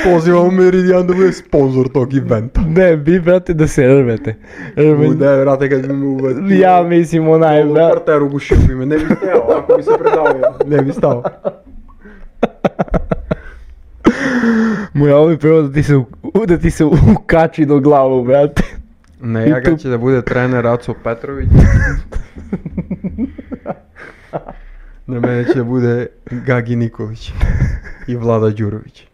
S1: Pozivamo Meridian да bude спонзор тог ивента.
S2: Не, би брате да се рвете. Рвен...
S1: Да, брате, kad bi me uvetio.
S2: Ја да. мислим онај,
S1: Ovo
S2: брат.
S1: kvarteru gušio bi me, ne bi stao, ako bi se predavio, ne bi stao.
S2: Моја ми прво да ти се у- да ти се укачи до глава, брате.
S1: Ne,
S2: I tu-
S1: Jagan će da bude trener Aco Petrović. Na mene će da bude Gagi Nikolić i Vlada Đurović.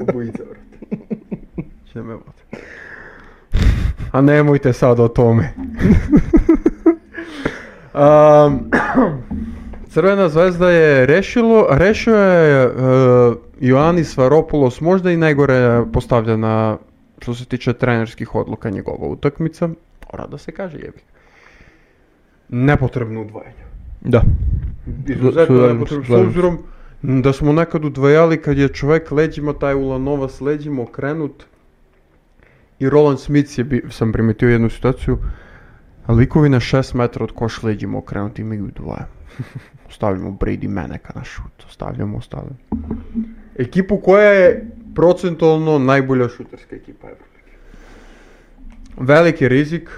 S1: Obojica, brate. Će me vode. A nemojte sad o tome. Am, Crvena zvezda je rešilo, rešio je uh, Joannis Varopoulos možda i najgore postavljena što se tiče trenerskih odluka njegova utakmica. Mora da se kaže jebi. ga. Nepotrebno udvajanje.
S2: Да.
S1: Izuzetno
S2: Slažem se,
S1: nepotrebno, s
S2: slažem se.
S1: obzirom da smo nekad udvajali kad je čovjek leđima, taj Ulanova s leđima okrenut i Roland Smith je, bi, sam primetio jednu situaciju, likovi na 6 metra od koš leđima okrenuti i mi ju dvoje. Ostavljamo Brady Meneka na šut, ostavljamo, ostavljamo. Ekipu koja je procentualno najbolja šuterska ekipa Evrolige. Veliki rizik.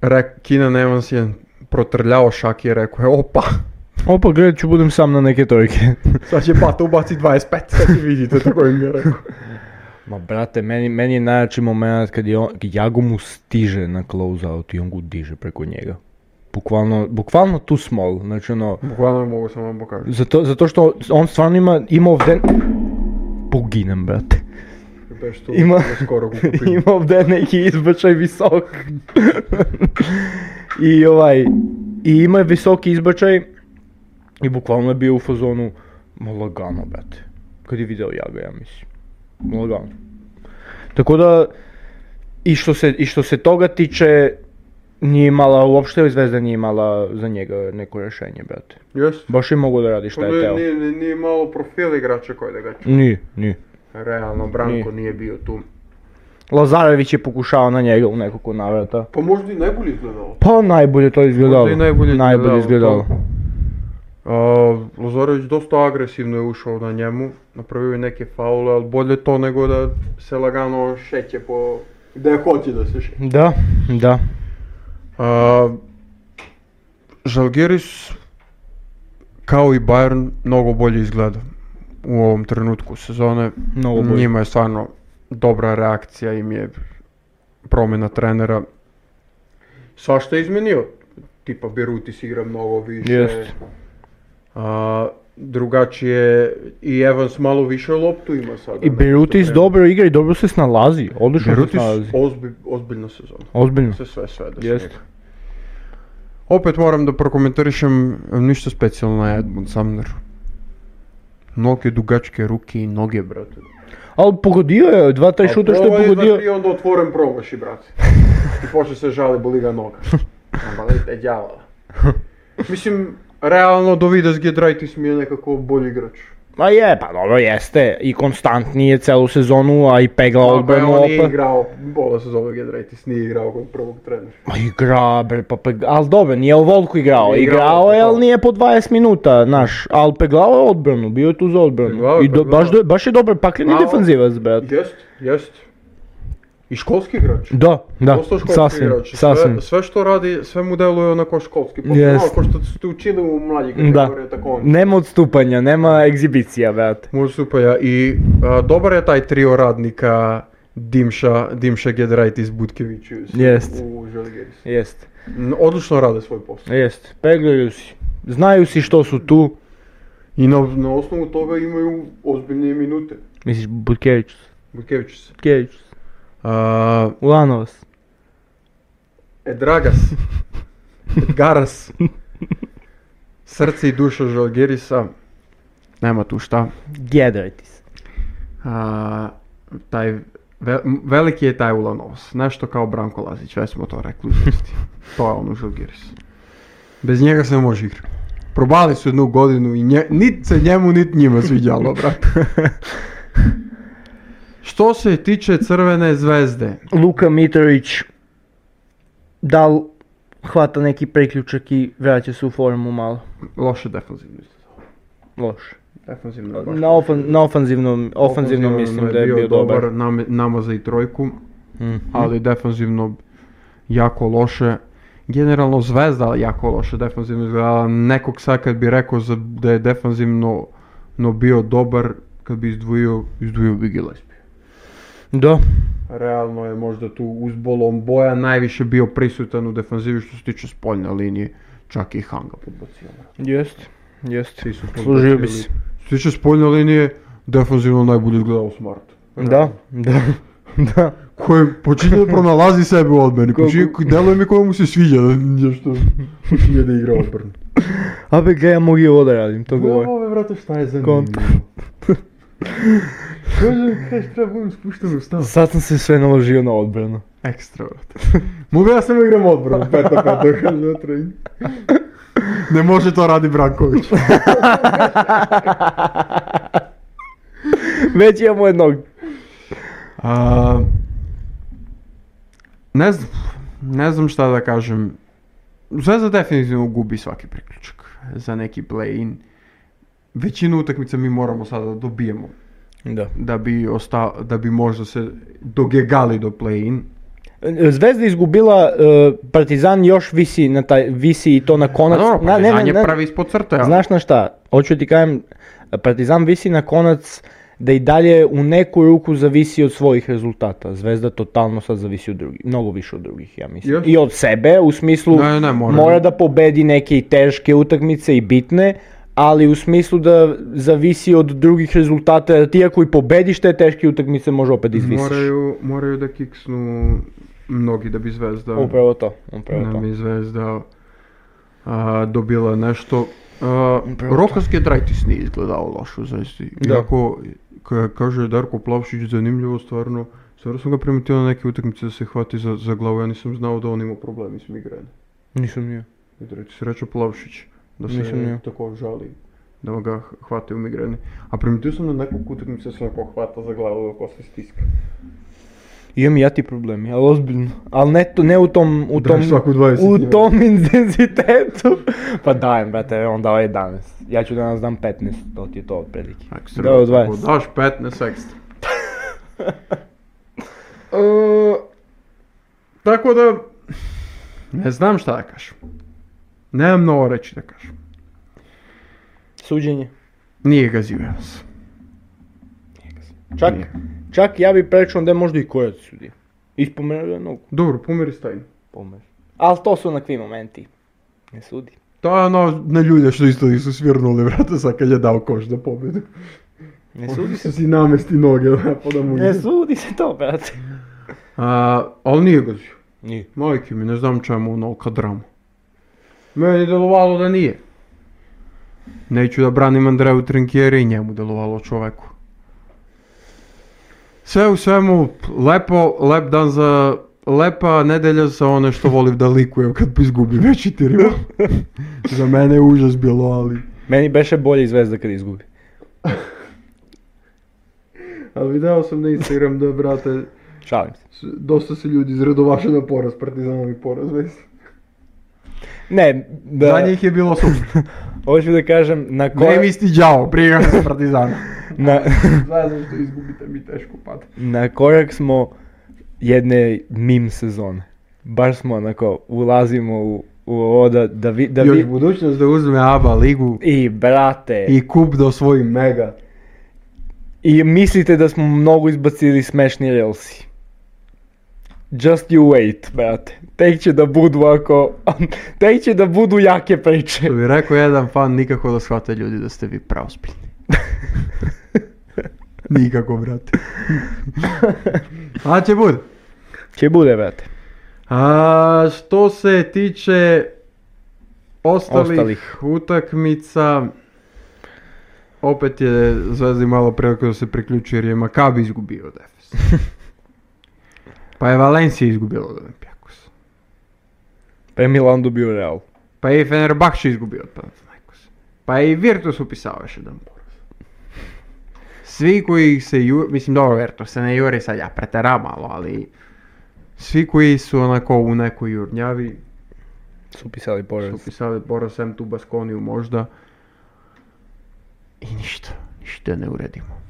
S1: Rek, Kina Nevans je protrljao šak i rekao je opa,
S2: Опа, гледай, ќе будем сам на неке тојке.
S1: sad će Bata ubaci 25, sad će vidite, tako im je rekao.
S2: Ма брате, мени мени е најачи моментот кога ја, ја го му стиже на клоузаут и он го диже преку него. Буквално, буквално ту смол, значи оно,
S1: Bukvalno mogu samo vam pokažem.
S2: зато, зато што он стварно има, има овде... Погинем, брате.
S1: Beš tu,
S2: Ima-
S1: skoro kupim.
S2: Има овде неки избачај висок. и овај и има високи избачај и буквално е бил у фазону ма лагано брате. Каде видел ја го ја мислим. Ма Лагано. Така да и што се и што се тога тиче nije imala, uopšte Zvezda nije imala za njega neko rješenje, brate.
S1: Jes?
S2: Baš je mogo da radi šta je
S1: Nije,
S2: teo.
S1: nije, nije, nije malo profil igrača koji da ga ču.
S2: Nije, nije.
S1: Realno, Branko
S2: Nije.
S1: nije bio tu.
S2: Lazarević je pokušao na njega u nekoliko navrata.
S1: Pa možda i najbolje izgledalo.
S2: Pa najbolje to izgledalo.
S1: Možda i najbolje
S2: najbolje
S1: izgledalo,
S2: izgledalo.
S1: A, Lazarević dosta agresivno je ušao na njemu, napravio je neke faule, ali bolje to nego da se lagano šeće po... gde hoće da se šeće.
S2: Da, da.
S1: A, Žalgiris, kao i Bayern, mnogo bolje izgleda u ovom trenutku sezone.
S2: Mnogo bolje.
S1: Njima je stvarno dobra reakcija, im je promjena trenera. Svašta je izmenio. Tipa Berutis igra mnogo više.
S2: Jest.
S1: A, drugačije i Evans malo više loptu ima sada.
S2: I Berutis dobro igra i dobro se snalazi. Odlično se
S1: Berutis
S2: snalazi.
S1: ozbi, ozbiljna sezona.
S2: Ozbiljno.
S1: Se sve svede s
S2: Hm. Jest.
S1: njega. Opet moram da prokomentarišem ništa specijalno na Edmund Sumner. Mnoge dugačke ruke i noge, brate.
S2: Ali pogodio je, dva, tri šuta što je pogodio.
S1: I onda otvoren promaši, brate. I počne se žali, boli ga noga. Ono, Nabalite, djavala. Mislim, realno Dovidas Gedraitis mi je nekako bolji igrač.
S2: Ma je, pa dobro jeste. I konstantniji je celu sezonu, a i pegla
S1: Dobro je,
S2: odbranu
S1: on nije
S2: opa.
S1: igrao, bola se zove Gedraitis, nije igrao kod prvog trenera.
S2: Ma igra, bre, pa peg... Ali dobro, nije u Volku igrao.
S1: Nije igrao,
S2: Igrao je,
S1: pa to.
S2: ali nije po 20 minuta, naš. Ali peglao je odbranu, bio je tu za
S1: Peglao
S2: odbranu.
S1: je,
S2: I do,
S1: peglao.
S2: baš, do, baš je dobar pakleni
S1: Malo.
S2: defanzivac, brate.
S1: Jest, jest. I školski igrač.
S2: Da, da,
S1: Dosta školski
S2: sasvim,
S1: igrač.
S2: sasvim.
S1: Sve, sve što radi, sve mu deluje onako školski. Pa yes.
S2: Jest.
S1: malo ko što ste učili u mlađih
S2: Da,
S1: kategorija, tako on.
S2: nema odstupanja, nema egzibicija, brate.
S1: Može super, ja. I a, dobar je taj trio radnika Dimša, Dimša Gedraitis Butkevićius
S2: Jest.
S1: u Žalgiris.
S2: Jeste,
S1: N- Odlično rade svoj posao.
S2: jeste, peglaju si, znaju si što su tu.
S1: I na, na osnovu toga imaju ozbiljne minute.
S2: Misliš, Butkević,
S1: Butkević se.
S2: Butkević,
S1: A,
S2: Ulanovas.
S1: Edragas. Edgaras. Srce i duša Žalgirisa. Nema tu šta.
S2: Gjedrajte se.
S1: A, taj ve- m- veliki je taj Ulanovs, nešto kao Branko Lazić, već smo to rekli u žurci. To je ono on u Žalgiris. Bez njega se ne može igrati. Probali su jednu godinu i nje, nit se njemu, nit njima sviđalo, brate. Što se tiče Crvene zvezde,
S2: Luka Mitrović, da li hvata neki priključak i vraća se u formu malo?
S1: loše defensivno.
S2: Loše.
S1: Defanzivno je baš
S2: Na, ofan, na ofanzivnom, ofanzivnom mislim da je bio dobar.
S1: Nam, nama za i trojku,
S2: Mhm.
S1: ali defanzivno jako loše. Generalno Zvezda jako loše defanzivno izgledala. Nekog sad kad bi rekao za, da je defanzivno no bio dobar, kad bi izdvojio, izdvojio bi Gillespie.
S2: Da.
S1: Realno je možda tu uz bolom boja najviše bio prisutan u defanzivi što se tiče spoljne linije. Čak i Hanga podbacio.
S2: Jest. Jest.
S1: Svi su
S2: Služio bi
S1: podbacili.
S2: se.
S1: Što se tiče spoljne linije, defanzivno najbolje izgledao Smart.
S2: Da, da. da.
S1: Koji počinje da pronalazi sebe u odbrani, počinje, deluje mi koja mu se sviđa da nešto počinje da igra odbranu.
S2: Abe ga ja mogu i ovo da radim, to
S1: Ovo
S2: govori.
S1: ove vrata šta je zanimljivo.
S2: Kont.
S1: Kaže, kaže, treba budem spušten u stav.
S2: Sad sam se sve naložio na odbranu.
S1: Ekstra, brate. Mogu ja samo igram odbranu, pet na pet, dok kažem unutra i- Ne može to radi Branković.
S2: Već imamo jednog.
S1: A, ne znam, ne znam šta da kažem. Zvezda definitivno gubi svaki priključak za neki play-in. Većinu utakmica mi moramo sada da dobijemo
S2: Da.
S1: da bi, osta, da bi možda se dogegali do play-in.
S2: Zvezda izgubila, e, Partizan još visi, na taj, visi i to na
S1: Pa
S2: konac.
S1: dobro,
S2: na, ne, ne,
S1: Partizan je
S2: ne.
S1: pravi ispod crte, ali
S2: Pa Znaš na šta, hoću ti kažem, Partizan visi na konac da i dalje u neku ruku zavisi od svojih rezultata. Zvezda totalno sad zavisi od drugih, mnogo više od drugih, ja mislim.
S1: Još?
S2: I od sebe, u smislu
S1: Ne, ne, mora.
S2: da pobedi neke i teške utakmice i bitne, ali u smislu da zavisi od drugih rezultata, jer ti ako i pobediš te teške utakmice, može opet izvisiš.
S1: moraju, moraju da kiksnu mnogi da bi Zvezda...
S2: Upravo to, upravo
S1: da
S2: to.
S1: bi Zvezda a, dobila nešto. A,
S2: Upravo
S1: Rokas Gedraitis nije izgledao loše u Zvezdi.
S2: Da.
S1: Iako, ka- kaže Darko Plavšić, zanimljivo stvarno. Stvarno sam ga primetio na neke utakmice da se hvati za, za glavu. Ja nisam znao da on ima problemi s migrenom.
S2: Nisam nije.
S1: Gedraitis reče Plavšić da se
S2: Nisam ja.
S1: tako žali da ga h- hvate u migreni. A primetio sam na nekoliko utakmica da se onako hvata za glavu dok se stiska.
S2: Imam i ja ti problemi, ali ozbiljno. Ali ne, to, ne u tom, u
S1: Da,
S2: tom,
S1: svaku 20
S2: u
S1: ima.
S2: tom intenzitetu. Pa dajem, brate, evo, on dao 11. Ja ću danas dam 15, to ti je to otprilike.
S1: Ekstra.
S2: Dao je 20.
S1: Ako Daš 15 ekstra. E, tako da, ne znam šta da kažem. Nemam mnogo reći da kažem.
S2: Suđenje.
S1: Nije ga Zivans.
S2: Čak,
S1: Nije.
S2: čak ja bi prečao da je možda i kojac sudi. Ispomenuo da je nogu.
S1: Dobro, pomeri stajnu.
S2: Pomer. Ali to su onakvi momenti. Ne sudi.
S1: To je ono na ljude što isto nisu svirnuli, vrata, sad kad je dao koš da pobjedu.
S2: Ne sudi se.
S1: Su si namesti noge, pa da mu
S2: Ne sudi se to, brate.
S1: A, ali nije ga Zivans.
S2: Nije.
S1: Majke mi, ne znam čemu onolika drama. Meni je delovalo da nije. Neću da branim Andreju Trinkjeri i njemu delovalo čoveku. Sve u svemu, lepo, lep dan za... Lepa nedelja za one što volim da likujem kad izgubim već i tirima. za mene je užas bilo, ali...
S2: Meni beše bolje i zvezda kad izgubi.
S1: Ali video sam na Instagram da, brate,
S2: Šalim se.
S1: dosta se ljudi izredovaše na poraz, partizanovi poraz, već.
S2: Ne, da,
S1: Za njih je bilo super.
S2: hoću da kažem, na koja...
S1: Ne mi stiđao, briga se partizana.
S2: na,
S1: Zvezda što izgubite mi teško pada.
S2: na korak smo jedne mim sezone. Baš smo onako, ulazimo u, u ovo da, da vi... Da
S1: Još
S2: vi...
S1: budućnost da uzme ABA ligu
S2: I brate, I...
S1: i kup da osvoji mega.
S2: mislite da smo mnogo izbacili smešni relsi. Just you wait, brate. Tek će da budu ako... Tek će da budu jake priče.
S1: Što bi rekao jedan fan, nikako da shvate ljudi da ste vi praospitni. nikako, brate. A će bud.
S2: Će bude, brate.
S1: A što se tiče ostalih,
S2: Ostalih.
S1: utakmica, opet je Zvezdi malo priliku da se priključi jer je Makabi izgubio od Efes. pa je Valencija izgubila od Olimpijakosa.
S2: Pa je Milan dobio real.
S1: Pa je i Fenerbahče izgubio od Panathinaikosa. Pa je i Virtus upisao još jedan poraz. Svi koji se ju... Mislim, dobro, Virtus se ne juri sad, ja preteram malo, ali... Svi koji su onako u nekoj jurnjavi,
S2: Su pisali poraz.
S1: Što pisali Boros M tu Baskoniju možda.
S3: I ništa, ništa ne uredimo.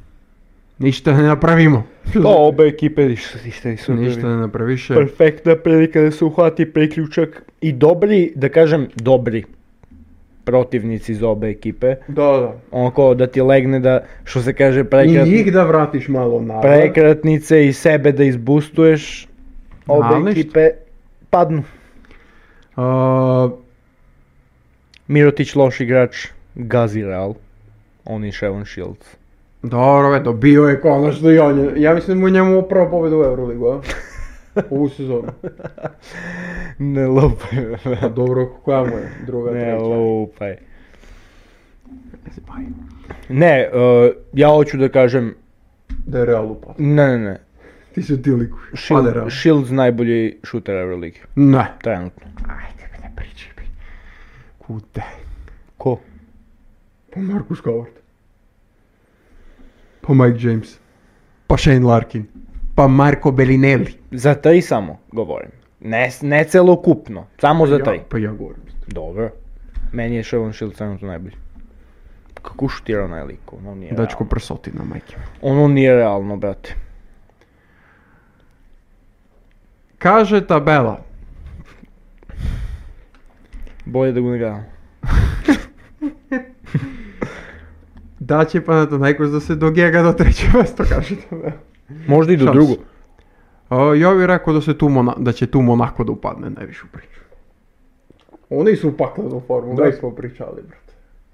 S1: Ništa ne napravimo.
S2: To obe ekipe ništa nisu
S1: Ništa ne napraviše.
S2: Perfektna prilika da se uhvati priključak i dobri, da kažem dobri protivnici za obe ekipe.
S1: Da, da.
S2: Onako da ti legne da, što se kaže,
S1: I
S2: prekratni,
S1: njih da vratiš malo nazad.
S2: prekratnice i sebe da izbustuješ. Obe
S1: Ali ništa.
S2: ekipe padnu.
S1: A,
S2: Mirotić loš igrač, gazi Real. Oni Shevon Shields.
S1: dobro, eto, bio je konačno i on je. Ja mislim da mu je njemu prva pobjeda u Euroligu, a? Ovu sezonu.
S2: Ne lupaj.
S1: Pa dobro, koja mu je? Druga,
S2: Ne
S1: treća.
S2: lupaj. Ne, e, ja hoću da kažem,
S1: Da je Real upao.
S2: ne, ne, ne.
S1: Ti se ti likuš.
S2: Shield-
S1: Pada Real.
S2: Shields najbolji šuter Euroligi,
S1: Ne.
S2: trenutno.
S3: Ajde mi ne pričaj mi.
S1: Kute.
S2: Ko?
S1: Pa Marcus Howard. Pa Mike James. Pa Shane Larkin. Pa Marko Bellinelli.
S2: Za taj samo govorim. Ne, ne celokupno, samo za taj.
S1: Ja, pa ja govorim.
S2: Dobro. Meni je Shevon Shields trenutno najbolji. Kako šutira onaj lik, ono nije
S1: Dačko
S2: realno.
S1: prsoti na majke.
S2: Ono nije realno, brate.
S1: Kaže tabela.
S2: Bolje da ga ne gledam.
S1: Da će Panathinaikos da se dogega do treće mjesto, kaže tabela.
S2: Možda i do
S1: Šans.
S2: drugo.
S1: A, ja bih rekao da, se tu Mona- da će tu Monako da upadne najviše u priču. Oni su u paklenom formu,
S2: Da.
S1: već smo pričali, brate.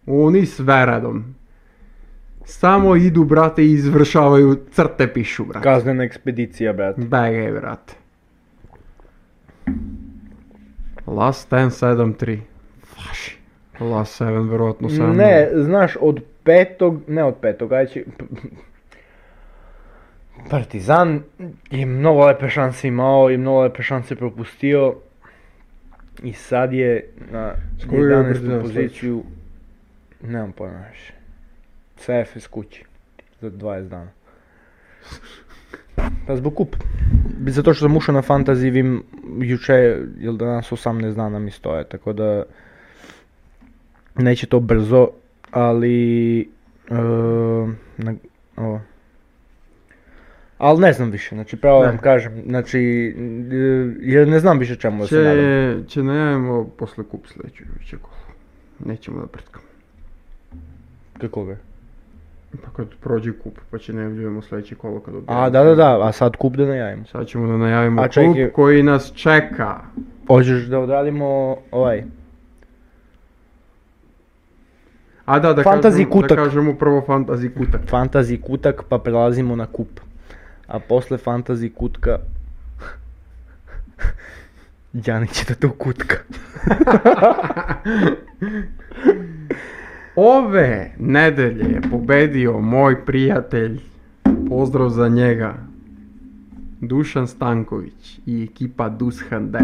S1: Oni sve redom. Samo idu, brate, i izvršavaju, crte pišu, brate.
S2: Kaznena ekspedicija, brate.
S1: Begaj, brate. Last 10, 7, 3. Vaši. Last 7, verovatno 7.
S2: Ne, znaš, od petog, ne od petog, ajde će... Partizan je mnogo lepe šanse imao i mnogo lepe šanse propustio. I sad je na
S1: S koju je
S2: 11.
S1: Partizan
S2: poziciju, nemam pojma više. CFS kući, za 20 dana. Pa zbog kup. Zato što sam ušao na fantasy, vim juče, jel danas 18 dana mi stoje, tako da neće to brzo, ali... e, na, ovo. Ali ne znam više, znači pravo
S1: Ne.
S2: vam kažem, znači, e, jer ne znam više čemu da se nadam.
S1: Će, će najavimo posle kup sljedeću će kolo. Nećemo da pretkamo.
S2: Kako ga?
S1: Pa kad prođe kup, pa će najavljujemo sljedeće kolo kad objavimo.
S2: A, da, da, da, a sad kup da najavimo.
S1: Sad ćemo da najavimo
S2: A
S1: kup
S2: čekaj.
S1: koji nas čeka.
S2: Hoćeš da odradimo ovaj,
S1: A da, da,
S2: Fantasy
S1: kažem, da
S2: kutak.
S1: kažemo prvo fantasy kutak.
S2: fantasy kutak pa prelazimo na kup. A posle fantasy kutka... Đani će da to kutka.
S1: Ove nedelje je pobedio moj prijatelj, pozdrav za njega, Dušan Stanković i ekipa Dushan 9.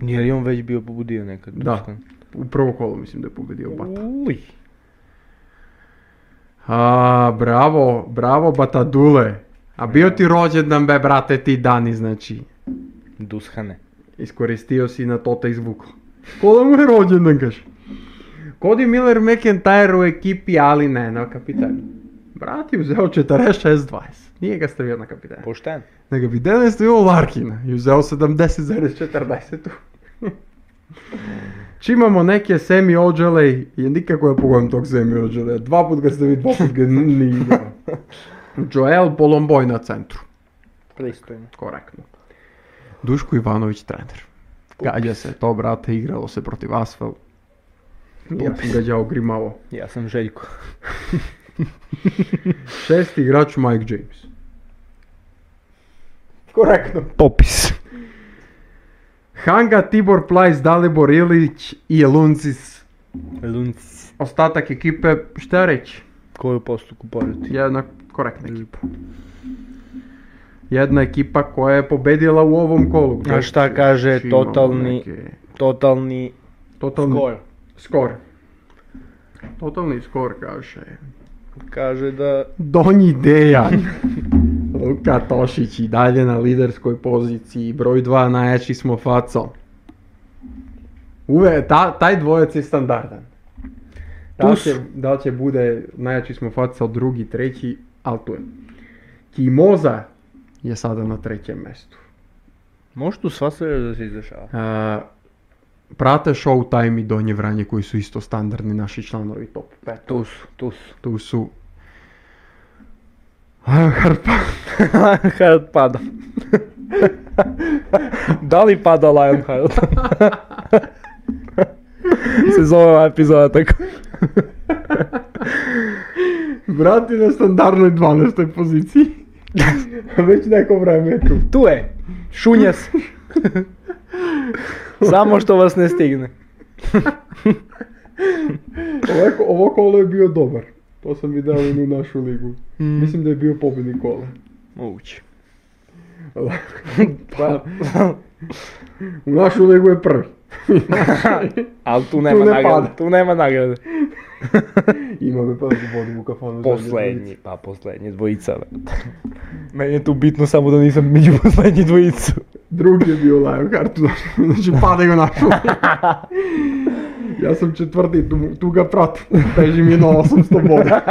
S2: Nije li on već bio pobudio nekad?
S1: Da.
S2: Dušan?
S1: U prvo kolo mislim da je pobedio pa Bata.
S2: Uj.
S1: A, bravo, bravo Batadule. A bio ti rođendan be brate ti dani znači.
S2: Dushane.
S1: Iskoristio si na to te izvuklo. Kola mu je rođendan kaže. Cody Miller McIntyre u ekipi, ali ne na kapitanu. Brat je uzeo 46-20. Nije ga stavio na kapitanu.
S2: Pošten.
S1: Nego bi Denis stavio Larkina i uzeo 70,40. Či imamo neke Semi Ođelej i nikako ja pogledam tog Semi Ođeleja. Dva put ga ste dva put ga nije igrao. Joel Polomboj na centru.
S2: Pristojno.
S1: Korektno. Duško Ivanović trener. Gađa se to, brate, igralo se protiv Asfel. Ja sam gađao grimavo.
S2: Ja sam Željko.
S1: Šesti igrač Mike James. Korektno.
S2: Popis.
S1: Hanga, Tibor Plajs, Dalibor Ilić i Luncis.
S2: Lunci.
S1: Ostatak ekipe, šta reći,
S2: Koju postupku porati?
S1: jedna korektna ekipa. Jedna ekipa koja je pobedila u ovom kolu. gdje
S2: A šta
S1: či-
S2: kaže
S1: či imamo
S2: totalni-
S1: neke-
S2: Totalni
S1: Totalni skor.
S2: skor.
S1: Totalni skor kaže.
S2: Kaže da...
S1: Donji Dejan. Luka Tošić i dalje na liderskoj poziciji. Broj 2 najjači smo facom. Uve, ta, taj dvojec je standardan. Да
S2: Туз.
S1: ќе, да ќе буде, најачи сме фацал други, трети, ал ту е. Кимоза е сада на треќе место.
S2: Може ту сва се да се издешава.
S1: А, прате Showtime и Доње Врање кои су исто стандардни наши чланови топ 5.
S2: Туз, туз.
S1: Ту су Харпа,
S2: Лайонхард пада. Дали пада Лайонхард? се зове ова епизода така.
S1: брати на стандардној 12 позицији. Веќе неко време е ту.
S2: Ту е. Шуња се. Само што вас не стигне.
S1: Ово, ово коло е био добар. Тоа сам ви дал на нашу лигу. Мислим да е био победник коло.
S2: Мовчи.
S1: Па, у нашу лигу е први.
S2: Ал ту
S1: Ту
S2: нема
S1: не
S2: награда.
S1: пада.
S2: ту нема награда.
S1: Имаме па да го водим у кафану.
S2: Последни, па последни двоица, бе. Мене е ту битно само да нисам меѓу последни двоица.
S1: Други е био Лајонхард, значи паде го нашо. Јас сум четврти, ту, ту га прат. Тежи ми на 800 бода.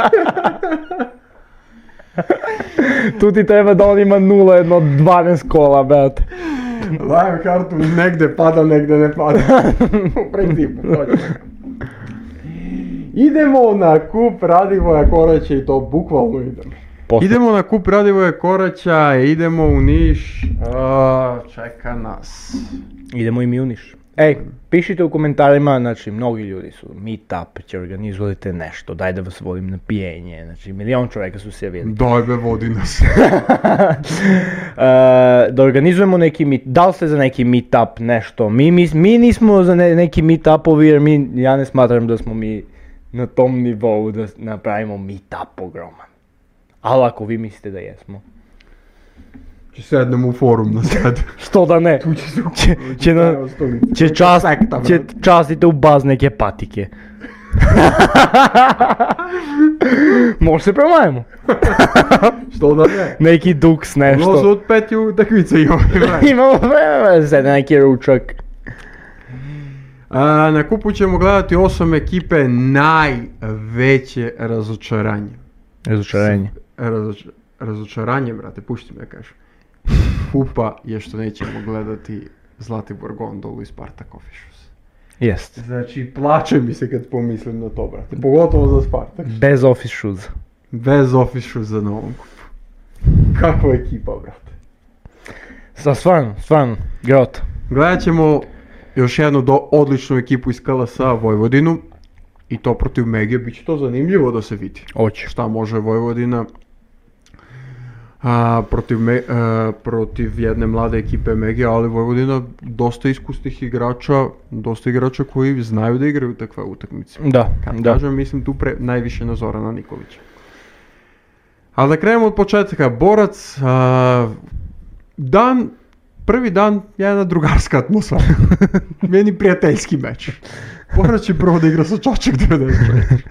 S2: Ту ти треба да он има 0, 1, 12 кола, брат.
S1: Лајонхард негде пада, негде не пада. Во принцип, точно. Идемо на куп Радивоја Корача и то буквално идемо. Идемо на куп Радивоја Корача, идемо у Ниш. А, чека нас.
S2: Idemo i mi u Niš. Ej, pišite u komentarima, znači mnogi ljudi su meetup, će organizujete nešto, daj da vas vodim na pijenje, znači milion čovjeka su se javili.
S1: Дој бе, води нас.
S2: E, da organizujemo neki meet, da li ste za neki meetup nešto, mi, mi, mi nismo za ne, neki meetupovi jer mi, ja ne smatram da smo mi na tom nivou da s- napravimo meetup ogroman. Ali ako vi mislite da jesmo,
S1: Ќе седнемо у форум на сед.
S2: što da ne, će, će, na, će, čas, će častite u baz neke patike. Може се промаемо.
S1: Што да не?
S2: Неки дукс
S1: Но
S2: нешто.
S1: за од пет ју такмица имаме.
S2: Имамо време, седе неки ручак.
S1: А, на купу ќемо гледати 8 екипе највеќе разочарање.
S2: Разочарање.
S1: Разоч... Разочарање, брате, пушти ме да кажам. Купа е што неќемо гледати Златибор Гондолу и Спарта Кофишус.
S2: Јест.
S1: Значи, плаче ми се кад помислам на тоа, брате. Поготово за Спартак.
S2: Без офис шуза.
S1: Без офишу за новом купу. Каква екипа, брате.
S2: Са стварно, стварно, грот.
S1: Gledat ćemo još jednu do, odličnu ekipu iz KLS-a Vojvodinu i to protiv Mege, bit će to zanimljivo da se vidi.
S2: Оче.
S1: Šta može Vojvodina a, protiv, Me- a, protiv jedne mlade ekipe Mege, ali Vojvodina dosta iskusnih igrača, dosta igrača koji znaju da igraju takve utakmice.
S2: Да,
S1: Kad
S2: да.
S1: kažem, mislim tu pre, najviše na Zorana Nikolića. Ali da krenemo od početka. Borac, a, dan, prvi dan je jedna drugarska atmosfera. Meni prijateljski meč. Borac će prvo da igra sa Čačak 90 čovjek.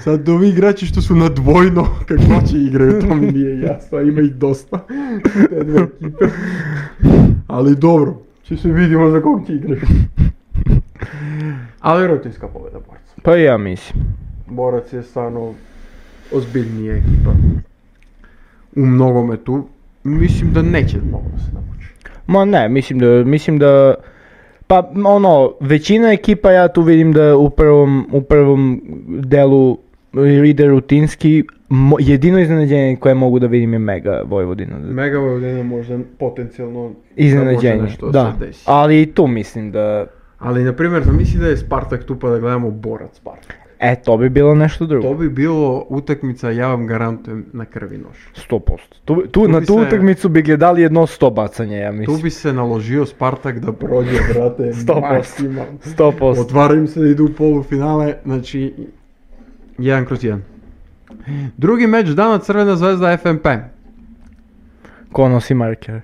S1: Sad ovi igrači što su na dvojno, kako će igraju, to mi nije jasno, a ima ih dosta. Te dve ekipe. Ali dobro, će se vidimo za kog ti igraš. Ali rutinska pobjeda Borca.
S2: Па и ја мислим.
S1: Borac je stvarno ozbiljnija ekipa. U mnogome tu. Mislim da neće mnogo da se namuči.
S2: Ма не, мислим да, мислим да Па,
S1: pa, ono,
S2: оно, веќина екипа ја ту видим да у првом, у првом делу иде рутински, Мо- едино изненадење кое могу да видим е Мега Војводина.
S1: Mega Vojvodina možda potencijalno da može nešto
S2: Изненадење, да.
S1: se desi.
S2: Али и ту мислим да
S1: Ali, na primjer, zamisli da je Spartak tu pa da gledamo Borac Spartak.
S2: Е, то би било нешто
S1: e, To
S2: друго.
S1: bi bilo utakmica, ja vam garantujem, na krvi nož.
S2: 100%. Ту, ту, на
S1: би
S2: ту
S1: се-
S2: утакмицу би гледали едно 100 бацање, ја
S1: Tu
S2: мислам.
S1: bi se naložio Spartak da prođe, brate,
S2: 100%.
S1: maksimalno.
S2: 100%.
S1: Otvara im se da idu u polufinale, znači, jedan kroz jedan. Drugi meč dana Crvena zvezda FMP.
S2: Ко носи маркер?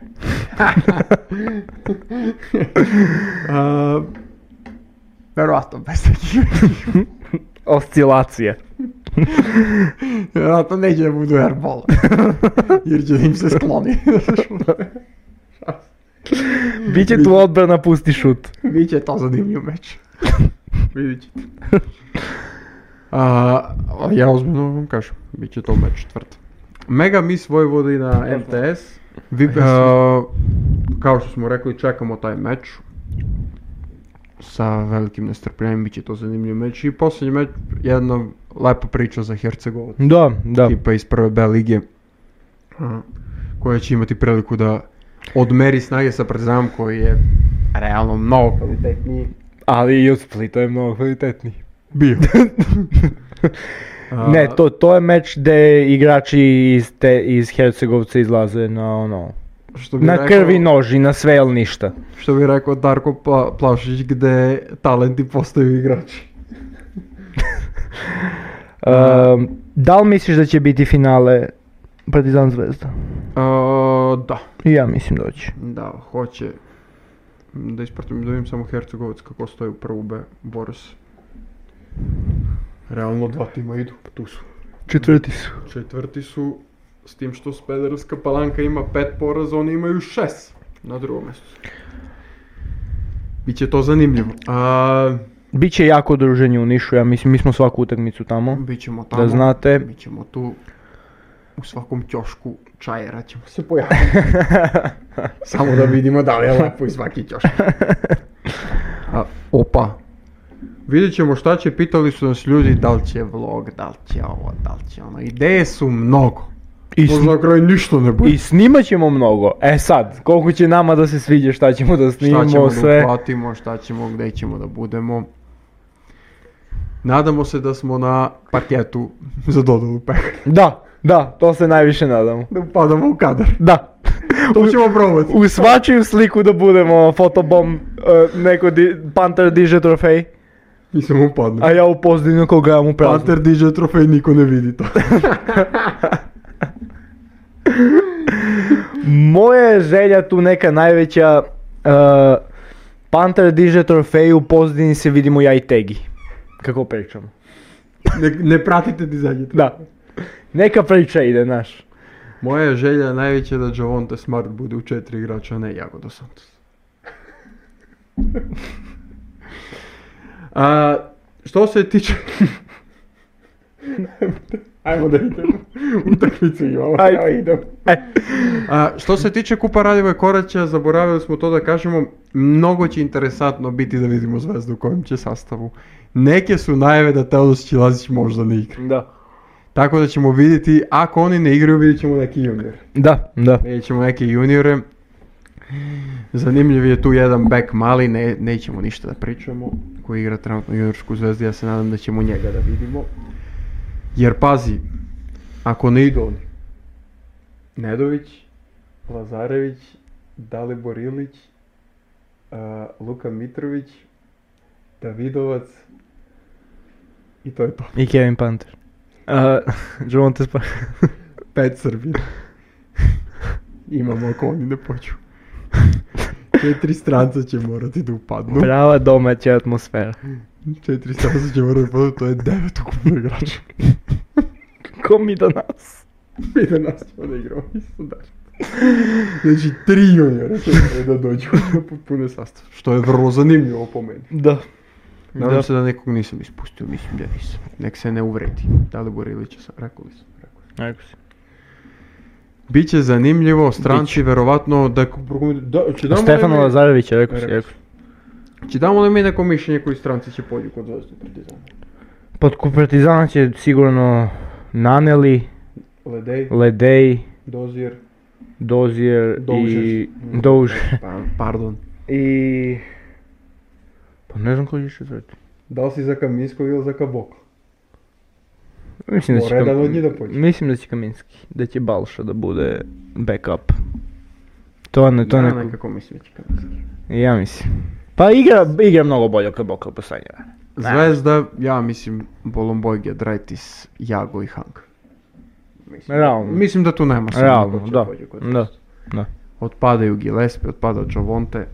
S1: A, verovatno bez ekipe.
S2: Осцилација.
S1: Verovatno neće da budu airbola. Jer će da im se skloni.
S2: Биќе ту одбрана пусти шут.
S1: Biće to zanimljiv meč.
S2: Vidit ćete.
S1: А, а, ја озбилно вам кажам, биќе тоа меч четврт. Мега мис војвода и на МТС. Ви, а, као што смо рекли, чекамо тај меч. Са великим нестрпљением биќе тоа занимљив меч и последни меч една лепа прича за Херцеговот.
S2: Da, da.
S1: Типа из прве Б лиге а, која ќе имати прилику да одмери снаге са Партизаном кој е реално многу квалитетни.
S2: Ali i od Splita je mnogo kvalitetniji.
S1: Био. А,
S2: Ne, to, to je meč gde igrači iz, te, iz Hercegovca izlaze na ono...
S1: што би
S2: Na
S1: рекол-
S2: krvi noži, na sve ili ništa.
S1: Što bi rekao Darko Pla Plašić, gde talenti postaju igrači.
S2: Um, da li misliš da će biti finale Partizan Zvezda?
S1: A, da,
S2: I ja mislim da će.
S1: da, hoće da ispratim, da vidim samo Hercegovac kako stoji u prvu B, Boris. Realno dva tima idu, tu su.
S2: Četvrti su.
S1: Četvrti su, s tim što Spederska palanka ima pet poraza, oni imaju šest na drugom mjestu. Biće to zanimljivo. A,
S2: Biće jako druženje u Nišu, ja mislim, mi smo svaku utakmicu tamo.
S1: bit ćemo tamo.
S2: Da znate,
S1: Mi ćemo tu u svakom ćošku čajera ćemo se pojaviti. Samo da vidimo da li je lepo i svaki ćošak. A, opa. Vidjet ćemo šta će, pitali su nas ljudi da li će vlog, da li će ovo, da li će ono. Ideje su mnogo.
S2: i, sni-
S1: Možda na kraju ništa ne bude.
S2: i snimat ćemo mnogo. E sad, koliko će nama da se sviđa šta ćemo da
S1: Šta
S2: snimamo,
S1: ćemo da
S2: sve.
S1: uhvatimo, šta ćemo, gdje ćemo da budemo. Nadamo se da smo na parketu za dodolu peh.
S2: Da, da, to se najviše nadamo.
S1: Da upadamo u kadar.
S2: Da.
S1: To ćemo probati.
S2: U svačiju sliku da budemo fotobomb, e, neko di, Panter diže trofej,
S1: I samo upadne.
S2: a ja u pozdravljenu koga gledam u prazno.
S1: Panter diže trofej, niko ne vidi to.
S2: Moja je želja tu neka najveća, e, Panter diže trofej, u pozdini se vidimo ja i Tegi. Kako pričamo.
S1: Ne, ne pratite dizajnje.
S2: Da. Neka priča ide, znaš.
S1: Moja je želja najveća da Javonte Smart bude u četiri igrača, a ne Jagodo Santos. a, što se tiče... Ajmo da idemo. Utakmicu imamo.
S2: Ajde.
S1: Evo, idemo.
S2: E.
S1: A, što se tiče Kupa Radeva i Koraća, zaboravili smo to da kažemo, mnogo će interesantno biti da vidimo zvezdu u kojem će sastavu. Neke su najave da Teodos Čilazić možda ne igra.
S2: Da.
S1: Tako da ćemo vidjeti, ako oni ne igraju, vidjet ćemo neki junior.
S2: Da, da.
S1: Vidjet ćemo neke juniore. Zanimljiv je tu jedan back mali, ne, nećemo ništa da pričamo, koji igra trenutno juniorsku zvezdu, ja se nadam da ćemo njega da vidimo. Jer pazi, ako ne idu oni, Nedović, Lazarević, Dalibor Ilić, a, Luka Mitrović, Davidovac i to je to.
S2: I Kevin Panter. Uh, Javonte Spa...
S1: Pet Srbina. Imamo ako oni ne poču. Četiri stranca će morati da upadnu.
S2: Prava domaća atmosfera.
S1: Četiri stranca će morati da upadnu, to je devet ukupno igrača.
S2: Ko mi do nas?
S1: Mi da nas ćemo da igramo i sudariti. Znači, tri juniora će morati da dođu na pune sastav. Što je vrlo zanimljivo po meni.
S2: Da.
S1: Nadam
S2: Da.
S1: se da nekog nisam ispustio, mislim da nisam. Nek se ne uvredi. Da li Borilića sam, rekao li sam. rekao sam.
S2: Ajko si.
S1: Biće zanimljivo, stranci verovatno da... da će damo
S2: Stefano
S1: neke-
S2: Lazarević je rekao si,
S1: Rekao
S2: rekao si.
S1: Či damo li mi neko mišljenje koji stranci će pođu kod Zvezde i Partizana?
S2: Pod ku- Partizana će sigurno Naneli,
S1: Ledej,
S2: Ledej,
S1: Dozier,
S2: Dozier i...
S1: Doužer.
S2: Douž.
S1: pa, pardon.
S2: I... Pa ne znam koji će četvrti.
S1: Da li si za Kaminsko ili za Kaboklo?
S2: Mislim da će,
S1: Mora jedan od njih da pođe.
S2: mislim da će Kaminski, da će Balša da bude backup. To ne, to
S1: da,
S2: neko,
S1: nekako mislim da će Kaminski.
S2: ja mislim. Pa igra, igra mnogo bolje kad Bokal poslednje. vreme.
S1: Zvezda, ja mislim Bolomboj, Gedraitis, Jago i Hank. Mislim,
S2: Realno.
S1: mislim da tu nema sumnje
S2: Realno,
S1: ko će
S2: da,
S1: pođe kod
S2: da,
S1: Zvezde.
S2: da.
S1: Otpadaju Gillespie, otpada Jovonte.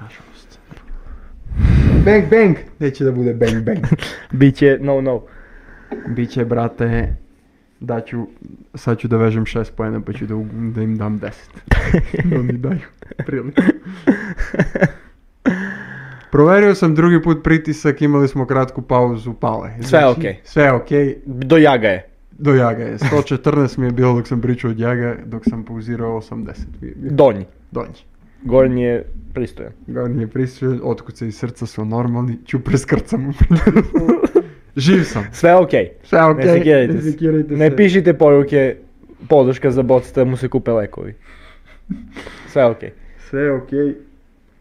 S1: Nažalost. Bang, bang! Neće da bude bang, bang.
S2: Biće no no.
S1: Biće, brate, da ću, sad ću da vežem 6 pojena pa ću da, u- da im dam 10. da oni daju priliku. Proverio sam drugi put pritisak, imali smo kratku pauzu, pale.
S2: Sve je okej.
S1: Sve je okej,
S2: Do jaga je.
S1: do jaga je. 114 mi je bilo dok sam pričao od jaga, dok sam pauzirao 80. mi je bio.
S2: Donji.
S1: Donji.
S2: Gornji je pristojan.
S1: Gornji je prisutio, otkuce i srca su normalni, ću preskrcam. Živ sam.
S2: Sve je okej.
S1: Sve je okej,
S2: Ne sekirajte se.
S1: sekirajte
S2: Ne
S1: se.
S2: pišite poruke, podrška za bots da mu se kupe lekovi. Sve je okej.
S1: Sve je okej.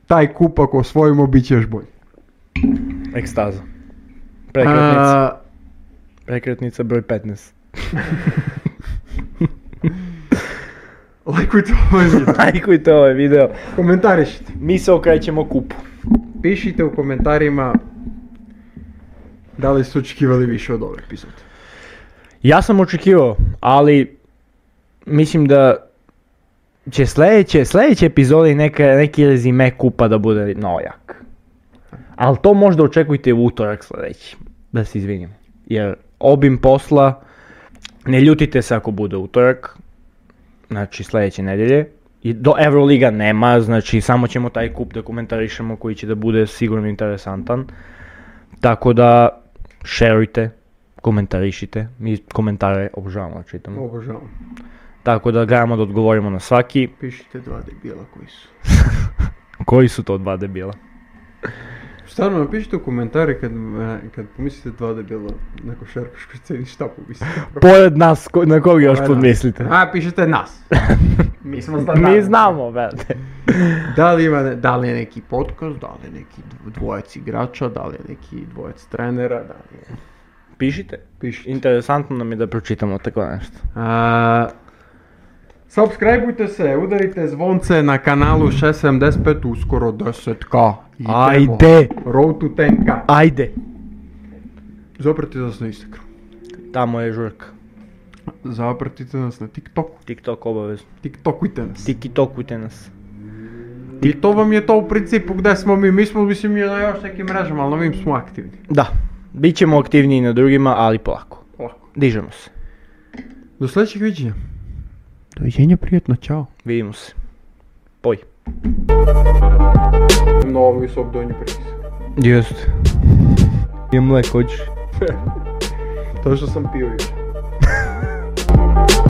S1: Taj kup ako osvojimo, bit će još bolje.
S2: Ekstaza. Prekretnica.
S1: A,
S2: Prekretnica broj 15.
S1: Lajkujte ovaj video.
S2: Lajkujte ovaj video.
S1: Komentarišite.
S2: Mi se okrećemo kupu.
S1: Pišite u komentarima da li ste očekivali više od ove epizode.
S2: Ja sam očekivao, ali mislim da će sljedeće, sljedeće epizode neka, neki rezime kupa da bude nojak. Ali to možda očekujte u utorak sljedeći, da se izvinim. Jer obim posla, ne ljutite se ako bude utorak, znači sljedeće nedjelje. I do Euroliga nema, znači samo ćemo taj kup da komentarišemo koji će da bude sigurno interesantan. Tako da, šerujte, komentarišite, mi komentare obožavamo da čitamo.
S1: Obožavam.
S2: Tako da gledamo da odgovorimo na svaki.
S1: Pišite dva debila koji su.
S2: Koji su to dva debila?
S1: Stvarno napišite u komentare kad, e, kad pomislite dva debila na košarkaškoj sceni šta pomislite.
S2: Pored nas, ko- na koga još
S1: Ovaj nas.
S2: podmislite?
S1: A, pa pišite nas. Mi smo
S2: Mi znamo, brate.
S1: Da li, ima, ne- da li je neki podcast, da li je neki dv- dvojac igrača, da li je neki dvojac trenera, da li je...
S2: Pišite.
S1: Pišite.
S2: Interesantno nam je da pročitamo tako nešto.
S1: A, Subscribeujte se, udarite zvonce na kanalu 675, uskoro 10k. Idemo.
S2: Ajde.
S1: Road to 10k.
S2: Ajde.
S1: Zapratite nas na Instagram.
S2: Tamo je žurka.
S1: Zapratite nas na TikToku.
S2: TikTok obavezno.
S1: TikTokujte nas.
S2: TikTokujte nas.
S1: I to vam je to u principu gde smo mi. Mi smo mislim mi na još nekim mrežama, ali na ovim smo aktivni.
S2: Da. Bićemo aktivniji na drugima, ali polako.
S1: Lako.
S2: Dižemo se.
S1: Do sljedećeg viđenja. Doviđenja, prijetno, čao.
S2: Vidimo se. Poj.
S1: Mnogo visok donji pritisak.
S2: Just. Je mleko, hoćeš?
S1: To što sam pio juče.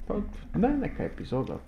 S1: Pa, Ne, neka epizoda.